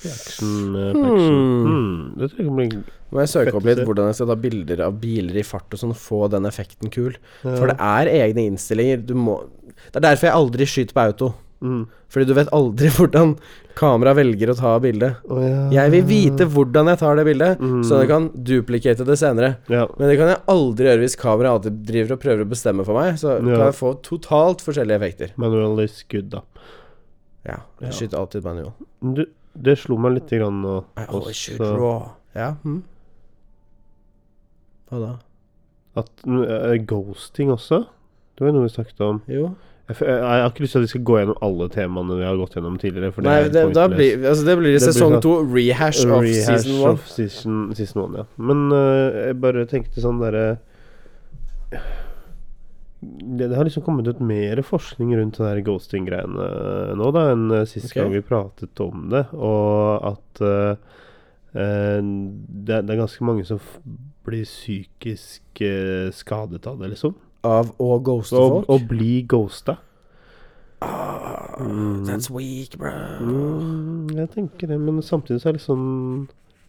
Action, eh, på action.
Hmm.
Hmm, Det tror jeg kan bli
Må jeg søke
Fett
opp litt
å se.
hvordan jeg skal ta bilder av biler i fart og sånn, få den effekten kul.
ja.
For det er egne innstillinger. Du må Det er derfor jeg aldri skyter på auto.
Mm.
Fordi du vet aldri hvordan kamera velger å ta bildet.
Å, ja.
Jeg vil vite hvordan jeg tar det bildet,
Mm.
så jeg kan duplikate det senere.
ja.
Men det kan jeg aldri gjøre hvis kameraet alltid driver og prøver å bestemme for meg. Så
Ja.
kan jeg få totalt forskjellige effekter.
Manual is good, da.
Ja.
Ja.
Jeg skyter alltid manual.
Du, det slo meg litt grann nå.
I always
også.
shoot raw. Ja. Hm. Hva da?
At eh, ghosting også. Det var jo noe vi snakket om.
Jo.
Jeg, f- jeg har ikke lyst til at vi skal gå gjennom alle temaene vi har gått gjennom tidligere. For
Nei,
det,
det,
er helt
da
pointless.
blir, altså det blir i
Det blir
sesong
sånn-
to rehash,
Rehash
of season one.
of season, season one, ja. Men eh, jeg bare tenkte sånn derre det, det har liksom kommet ut mer forskning rundt det der ghosting-greiene nå da enn eh, sist
Ok.
gang vi pratet om det, og at eh, eh, det, det er ganske mange som f blir psykisk eh, skadet av det, liksom.
Av å ghoste
Og,
folk?
og bli ghosta.
Ah, That's weak, bro.
Mm, jeg tenker det, men samtidig så er det liksom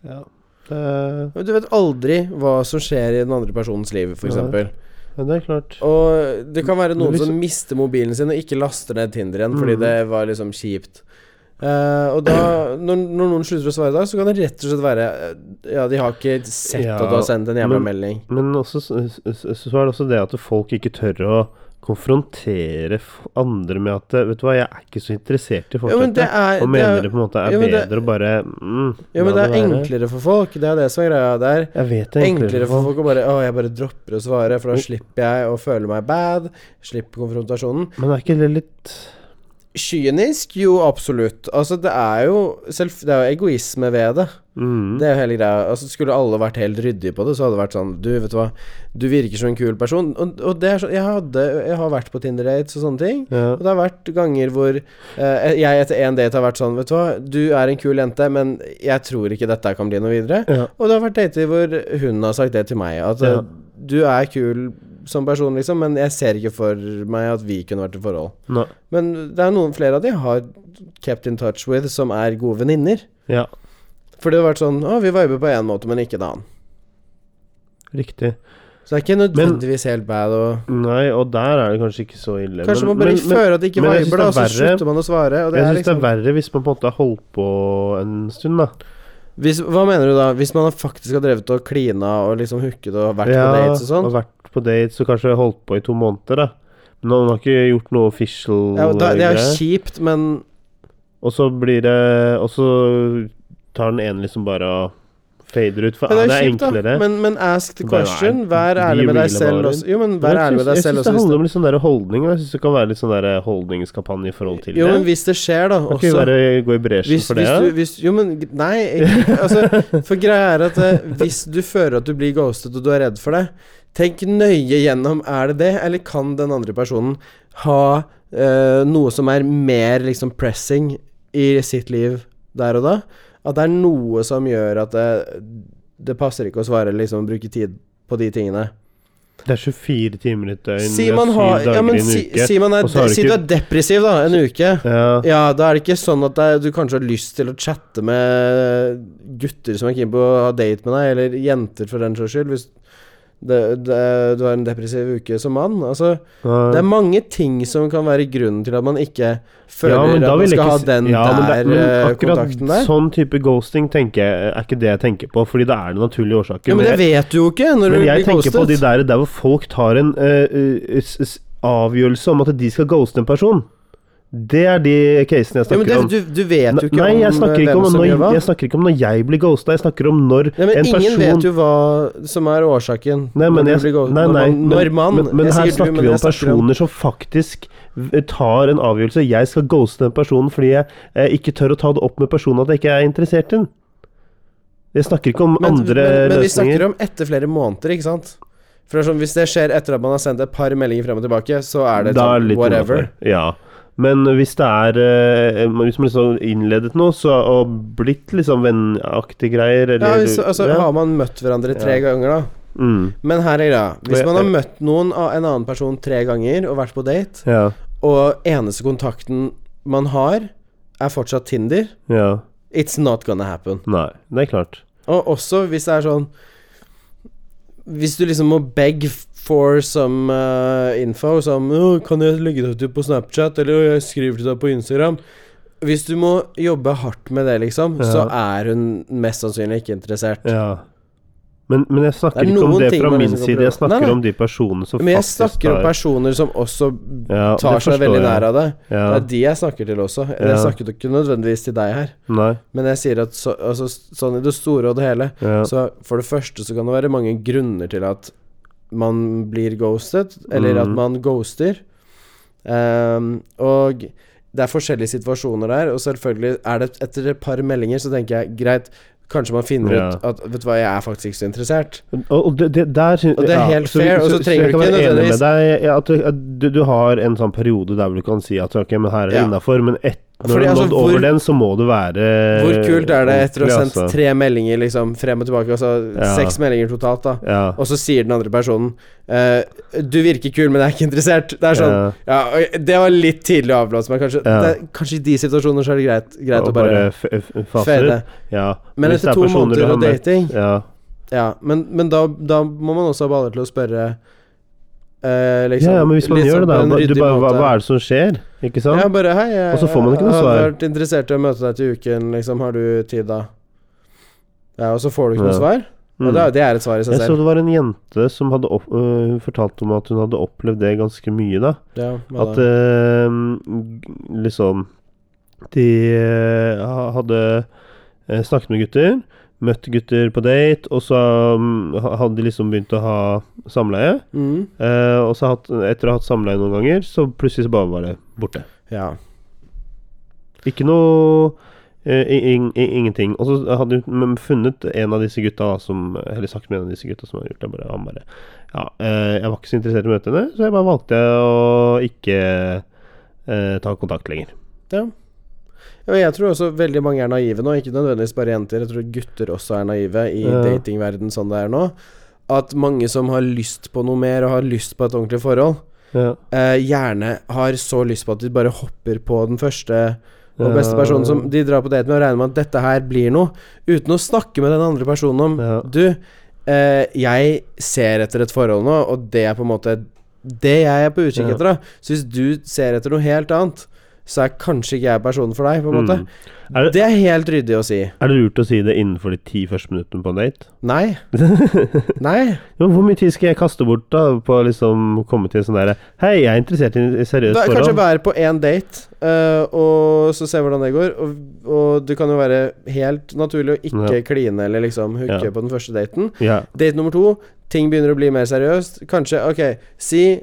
Ja. Det, er-
Men Du vet aldri hva som skjer i den andre personens liv, f.eks.
Nei.
eksempel
ja, det er klart.
Og det kan være noen
Men hvis-
som mister mobilen sin og ikke laster ned Tinder igjen fordi
Mm.
det var liksom kjipt. Eh, og da, når, når noen slutter å svare da, så kan det rett og slett være eh, Ja, de har ikke sett
Ja,
at du har sendt en jævla
men-
melding.
Men også, s- s- s- så er det også det at folk ikke tør å konfrontere f- andre med at eh, Vet du hva, jeg er ikke så interessert i
Jo, men det
fortsettet.
er,
Og
det
mener
er,
det på en måte er
jo, men det-
bedre å bare mm,
jo, men
la
det er
være.
enklere for folk. Det er det som er greia. Det er
Jeg vet det er Mm.
enklere for folk å bare Å, jeg bare dropper å svare, for da
Jo.
slipper jeg å føle meg bad. Slipper konfrontasjonen.
Men er ikke det litt
Kynisk? Jo, absolutt. Altså, det er jo selv, Det er jo egoisme ved det.
mm,
Det er jo hele greia. Altså, skulle alle vært helt ryddige på det, så hadde det vært sånn Du, vet du hva, du virker som en kul person. Og, og det er sånn Jeg, hadde, jeg har vært på Tinder-dates og sånne ting.
ja.
Og det har vært ganger hvor eh, jeg etter én date har vært sånn Vet du hva, du er en kul jente, men jeg tror ikke dette her kan bli noe videre.
Ja.
Og det har vært dater hvor hun har sagt det til meg. At eh,
Ja.
du er kul som person, liksom, men jeg ser ikke for meg at vi kunne vært i forhold.
Nei.
Men det er noen flere av de jeg har kept in touch with, som er gode venninner.
ja.
For det har vært sånn Å, vi viber på én måte, men ikke en annen.
Riktig.
Så det er ikke nødvendigvis helt bad å
Nei, og der er det kanskje ikke så ille.
Kanskje man bare føler at det ikke
men jeg synes
viber, da, og så
det er verre-
slutter man å svare. Og det
jeg
er
syns
liksom,
det er verre hvis man på en måte har holdt på en stund, da.
hvis, Hva mener du da? Hvis man faktisk har drevet og klina og liksom hooket og vært
ja,
på dates og sånn?
Og vært på dates og kanskje holdt på i to måneder, da. Men man har ikke gjort noe official eh,
Ja, og da, det er jo
greie.
kjipt, men
Og så blir det Og så tar den ene liksom bare og fader ut, for ah,
Men
det
det
er,
er kjipt, da.
enklere.
Men, men ask the
Bare
question. Vær
be
ærlig med
real
deg selv
about
også. Jo, men
Men
vær
jeg
ærlig med
syns-
deg selv
Jeg syns det
også. hvis
handler om litt sånn der holdning. da. Jeg syns det kan være litt sånn der holdningskampanje i forhold
det-
til
Jo, men
det.
hvis det skjer, da,
Kan ikke
også
vi bare gå i bresjen
hvis,
for det?
hvis
ja?
du, hvis, jo, men g- nei ikke- altså, For greia er at eh, hvis du føler at du blir ghostet og du er redd for det, tenk nøye gjennom er det det, eller kan den andre personen ha eh, noe som er mer liksom pressing i sitt liv der og da? At det er noe som gjør at det, det passer ikke å svare liksom bruke tid på de tingene.
Det er 24 timer i et døgn,
Si
det er
man
eh, syv
har
dager
ja, men
i en
si,
uke.
si, man er,
og så har du
si du
ikke-
er depressiv, da, en uke.
ja.
Ja, da er det ikke sånn at det, er- du kanskje har lyst til å chatte med gutter som er keen på å ha date med deg, eller jenter for den saks skyld, hvis det, det, du har en depressiv uke som mann. Altså, det er mange ting som kan være grunnen til at man ikke føler
Ja, men da
at man
vil jeg
skal
ikke
ha
si-
den
ja, men
der
det- men
eh,
akkurat
kontakten der.
Sånn type ghosting tenker jeg, eh, er ikke det jeg tenker på, fordi det er den naturlige årsaken.
Ja, men det
jeg,
vet du jo ikke når du
men jeg
blir
tenker på de
ghostet.
der, der hvor folk tar en eh, eh, s- s- avgjørelse om at de skal ghoste en person. Det er de casene jeg
Ja, men
snakker
det,
om.
du, du vet jo ikke
Nei, jeg
om eh,
snakker, ikke
hvem
om
som gjør hva.
når, jeg snakker ikke om når jeg blir ghosta, jeg snakker om når
Nei, men
en
ingen
person
vet jo hva som er årsaken.
Nei, men
når,
jeg,
du blir ghostet.
nei,
Når
nei,
man- når man
men, men
jeg
her
sier du,
snakker
men
vi om
jeg
personer som faktisk v- tar en avgjørelse. Jeg skal ghoste den personen fordi jeg eh, ikke tør å ta det opp med personen at jeg ikke er interessert i den. Jeg snakker ikke om andre
men, men vi
løsninger.
snakker om etter flere måneder, ikke sant? For det er sånn, Hvis det skjer etter at man har sendt et par meldinger frem og tilbake, så er det
da
sånn,
er det litt
whatever.
innafor. Ja. Men hvis det er eh, Hvis man liksom innledet noe så, og blitt liksom vennaktige greier,
Ja,
eller
hvis, altså,
ja.
Har man møtt hverandre tre ganger, da?
Mm,
Men her er greia. Hvis
Men-
man har møtt noen av en annen person tre ganger og vært på date,
ja,
og eneste kontakten man har, er fortsatt Tinder,
ja.
it's not gonna happen.
Nei, det er klart.
Og også hvis det er sånn Hvis du liksom må beg for some eh, info Som «Å, 'Kan jeg legge deg til på Snapchat?' Eller «Å, 'Jeg skriver til deg på Instagram'. Hvis du må jobbe hardt med det, liksom, så er hun mest sannsynlig ikke interessert.
Ja. Men, men jeg snakker
Det er
ikke om
noen
det
ting
fra
man
min
liksom kan
side, jeg
prøve.
snakker
Nei, nei.
om de personene som
Men jeg
faktisk
snakker om
tar-
personer som også tar
Ja, det
seg
forstår
veldig
jeg.
nær av det.
Ja,
Det er de jeg snakker til også.
Ja.
Jeg snakket ikke nødvendigvis til deg her,
nei,
men jeg sier at så, altså, sånn i det store og det hele
ja,
Så for det første så kan det være mange grunner til at man blir ghostet, eller at
Mhm.
man ghoster. Ehm, og det er forskjellige situasjoner der, og selvfølgelig er det etter et par meldinger så tenker jeg greit, kanskje man finner
Ja.
ut at vet du hva, jeg er faktisk ikke så interessert.
Og, og det, det, der, syn-
Og det er helt
så vi-
fair, og så trenger
jeg
du
kan
ikke
være enig
nødvendigvis-
med deg i at, du- at du, du har en sånn periode der hvor du kan si at ok, men her er det
Ja.
innafor, men et, når
Fordi,
du har
altså,
nådd
hvor-
over den, så må det være
Hvor kult er det etter å ha
ordentlig,
sendt tre meldinger liksom frem og tilbake, altså
altså. Ja.
seks meldinger totalt, da,
Ja.
og så sier den andre personen eh, 'Du virker kul, men jeg er ikke interessert'. Det er sånn
ja,
Ja, og det var litt tidlig å avblåse meg, kanskje.
Ja.
Det, er- kanskje i de situasjoner så er det greit, greit
og
å bare
f- f- faser
fade.
ut. Ja.
Men
hvis
etter
det er
to
personer du
måneder
har
og
møtt-
dating
Ja.
Ja, men, men da, da må man også ha baller til å spørre eh, liksom,
ja, ja, men hvis man
litt
gjør
sånn
det, da
på en
hva- du
ryddig
bare, hva,
måte.
hva er det som skjer? Ikke sant?
Ja, bare hei, jeg,
Og så får man ikke noe
jeg hadde
svar.
vært interessert i å møte deg til uken, liksom, har du tid da? Ja, og så får du ikke noe
Ja. Mm.
svar? Og da, det er et svar i seg
Jeg så
selv.
det var en jente som hadde opp, øh, hun fortalte om at hun hadde opplevd det ganske mye, da.
Ja, hva
At
da?
eh, liksom De eh, ha- hadde eh, snakket med gutter, møtt gutter på date, og så mm, ha- hadde de liksom begynt å ha samleie.
Mm.
eh, og så hatt, etter å ha hatt samleie noen ganger, så plutselig så bare var det borte.
Ja.
Ikke noe eh, i- ing- i- Ingenting. Og så hadde hun men funnet en av disse gutta da, som Eller sagt med en av disse gutta som hadde gjort det. Bare, han bare Ja, eh, jeg var ikke så interessert i å møte henne, så jeg bare valgte å ikke eh, ta kontakt lenger.
ja. Og jeg tror også veldig mange er naive nå, ikke nødvendigvis bare jenter. Jeg tror gutter også er naive i
Ja.
datingverden sånn det er nå. At mange som har lyst på noe mer, og har lyst på et ordentlig forhold,
Ja.
eh, gjerne har så lyst på at de bare hopper på den første og
Ja.
beste personen som de drar på date med, og regner med at dette her blir noe, uten å snakke med den andre personen om
Ja.
Du, eh, jeg ser etter et forhold nå, og det er på en måte det jeg er på utkikk
Ja.
etter. da Så hvis du ser etter noe helt annet, så er kanskje ikke jeg personen for deg, på en måte.
Mm. Er, det,
Det er helt ryddig å si.
er det lurt å si det innenfor de ti første minuttene på en date?
Nei. Nei.
Jo, hvor mye tid skal jeg kaste bort da på å liksom komme til en sånn derre Hei, jeg er interessert i et seriøst
Da, kanskje
forhold.
være på én date, eh, og så se hvordan det går. Og, og det kan jo være helt naturlig å ikke
Ja.
kline eller liksom hooke
Ja.
på den første daten.
Ja.
Date nummer to, ting begynner å bli mer seriøst. Kanskje, ok, si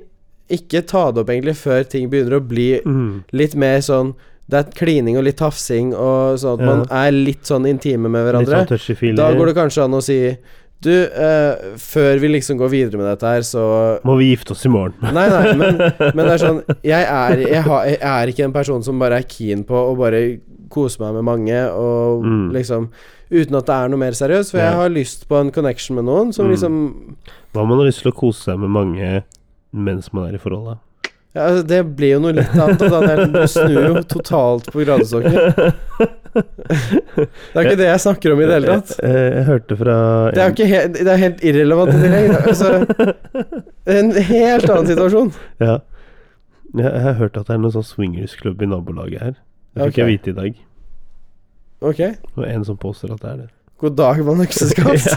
Ikke ta det opp egentlig før ting begynner å bli
Mm.
litt mer sånn Det er klining og litt tafsing, og sånn at
Ja.
man er litt sånn intime med
Litt
hverandre.
sånn touchy-feely.
Da går det kanskje an å si Du, eh, før vi liksom går videre med dette her, så
Må vi gifte oss i morgen?
Nei, nei, men, men det er sånn jeg er, jeg, har, jeg er ikke en person som bare er keen på å bare kose meg med mange og
Mm.
liksom Uten at det er noe mer seriøst, for jeg
Ja.
har lyst på en connection med noen som
Mm.
liksom
Hva om man har lyst til å kose seg med mange mens man er i forholdet?
Ja, altså, det blir jo noe litt annet. og Da det er- du snur jo totalt på gradestokken. Det er ikke det jeg snakker om i det hele tatt.
Jeg, jeg, jeg hørte fra
Det er jo ikke helt, det er helt irrelevant i tillegg. da. Altså, det er en helt annen situasjon.
ja. Jeg, jeg har hørt at det er noen sånn swingersklubb i nabolaget her. Det fikk
Ok.
jeg vite i dag.
Ok.
Det var en som påstår at det er det.
God dag, mann økseskaft.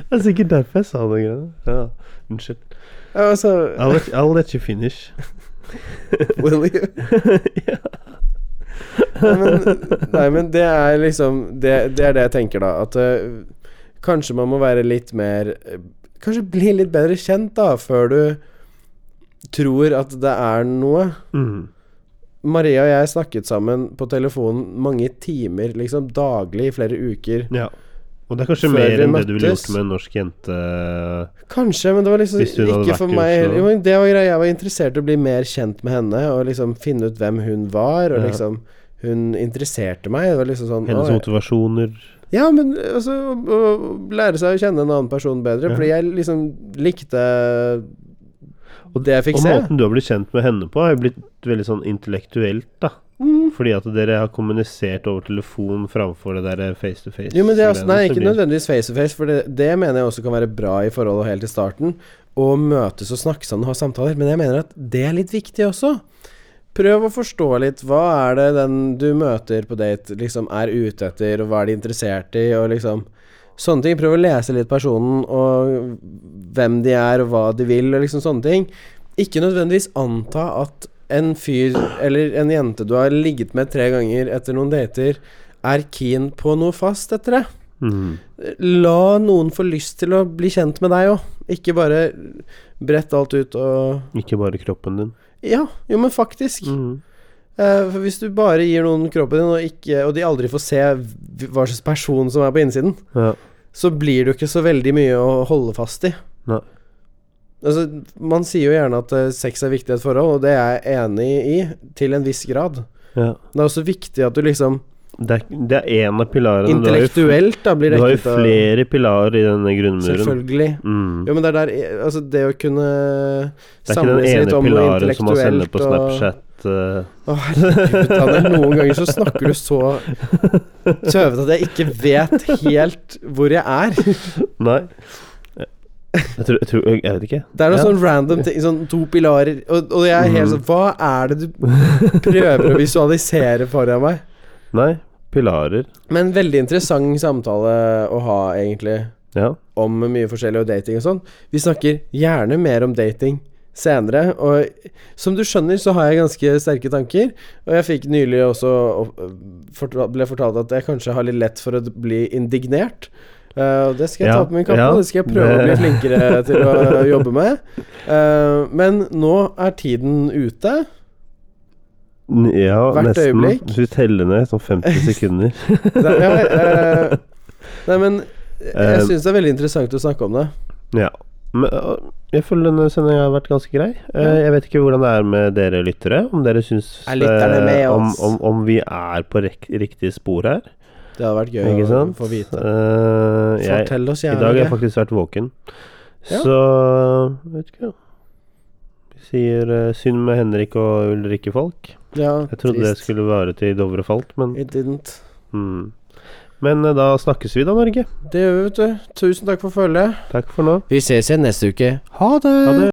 Det er sikkert derfor jeg sa det greiene. Ja. Unnskyld.
Ja, Altså,
I'll let, I'll let you finish.
will you? Nei, men, nei, men det er liksom det, det er det jeg tenker, da. At eh, kanskje man må være litt mer eh, Kanskje bli litt bedre kjent, da, før du tror at det er noe.
Mm.
Maria og jeg snakket sammen på telefonen mange timer, liksom daglig i flere uker.
Ja. Og det er kanskje
Før
mer
vi
enn det du ville
møttes.
gjort med en norsk jente eh,
Kanskje, men det var liksom
Hvis hun hadde
ikke
vært
for
i
meg
Oslo.
jo, men Det var greia, jeg var interessert i å bli mer kjent med henne og liksom finne ut hvem hun var, og
Ja.
liksom Hun interesserte meg. Det var liksom sånn
Hennes
«Å, jeg-
motivasjoner
Ja, men altså å, å lære seg å kjenne en annen person bedre,
Ja.
fordi jeg liksom likte
Og-
det jeg fikk
Og
se.
måten du har blitt kjent med henne på, har jo blitt veldig sånn intellektuelt, da.
Mm.
Fordi at dere har kommunisert over telefon framfor det der face to face.
Jo, men det er også, nei,
det
ikke
blir-
nødvendigvis face to face, for det, det mener jeg også kan være bra i forholdet helt i starten. Å møtes og snakke sammen og ha samtaler, men jeg mener at det er litt viktig også. Prøv å forstå litt hva er det den du møter på date liksom er ute etter, og hva er de interessert i, og liksom sånne ting. Prøv å lese litt personen, og hvem de er, og hva de vil, og liksom sånne ting. Ikke nødvendigvis anta at en fyr eller en jente du har ligget med tre ganger etter noen dater, er keen på noe fast etter det.
Mhm.
La noen få lyst til å bli kjent med deg òg. Ikke bare brett alt ut og
Ikke bare kroppen din.
Ja, jo, men faktisk.
Mhm.
Eh, for hvis du bare gir noen kroppen din, og, ikke, og de aldri får se v- hva slags person som er på innsiden,
Ja.
så blir det jo ikke så veldig mye å holde fast i.
Nei.
Altså, man sier jo gjerne at eh, sex er viktig i et forhold, og det er jeg enig i til en viss grad.
ja.
Det er også viktig at du liksom
Det, er, det er en av pilarene.
intellektuelt da
Du
blir
har jo, du har jo
dekket av
flere pilarer i denne grunnmuren.
Selvfølgelig.
Mm.
Jo, men det er der Altså, det å kunne
Det er ikke den
samles litt
ene
om noe
pilaren som man sender
intellektuelt
på Snapchat. eh,
Og, å, herregud, Daniel. Noen ganger så snakker du så tøvete at jeg ikke vet helt hvor jeg er.
nei. Jeg tror, jeg tror Jeg vet ikke.
Det er noe
Ja.
sånn random ting, sånn to pilarer Og, og jeg er helt
Mhm.
sånn Hva er det du prøver å visualisere foran meg?
Nei. pilarer.
Men veldig interessant samtale å ha, egentlig,
Ja.
om mye forskjellig og dating og sånn. Vi snakker gjerne mer om dating senere, og som du skjønner, så har jeg ganske sterke tanker. Og jeg fikk nylig også opp- fortalt- ble fortalt at jeg kanskje har litt lett for å bli indignert. Eh, og det skal jeg
Ja,
ta på min kappe,
ja,
det skal jeg prøve å bli
det-
flinkere til å jobbe med. Eh, men nå er tiden ute.
N- ja
Hvert
nesten.
øyeblikk.
Hvis vi teller ned sånn 50 sekunder.
Nei, ja, eh, nei men jeg
Eh,
syns det er veldig interessant å snakke om det.
ja. Men, øh, jeg føler denne sendinga har vært ganske grei. Eh, Jeg vet ikke hvordan det er med dere lyttere. Om dere syns
Er lytterne med
eh, om,
oss?
om, om vi er på rek riktig spor her.
Det hadde vært gøy
Ikke
å
sant?
få vite.
Eh, jeg,
Fortell oss
I
gjerne
dag har
det.
jeg faktisk vært våken.
Ja.
Så jeg vet ikke. Vi sier eh, synd med Henrik og Ulrikke Falk.
Ja,
Jeg trodde det skulle vare til Dovre falt, men
It didn't.
hmm. Men eh, da snakkes vi da, Norge.
Det gjør vi, vet du. Tusen takk for følget.
Takk for nå.
Vi ses igjen neste uke. Ha det!
Ha det.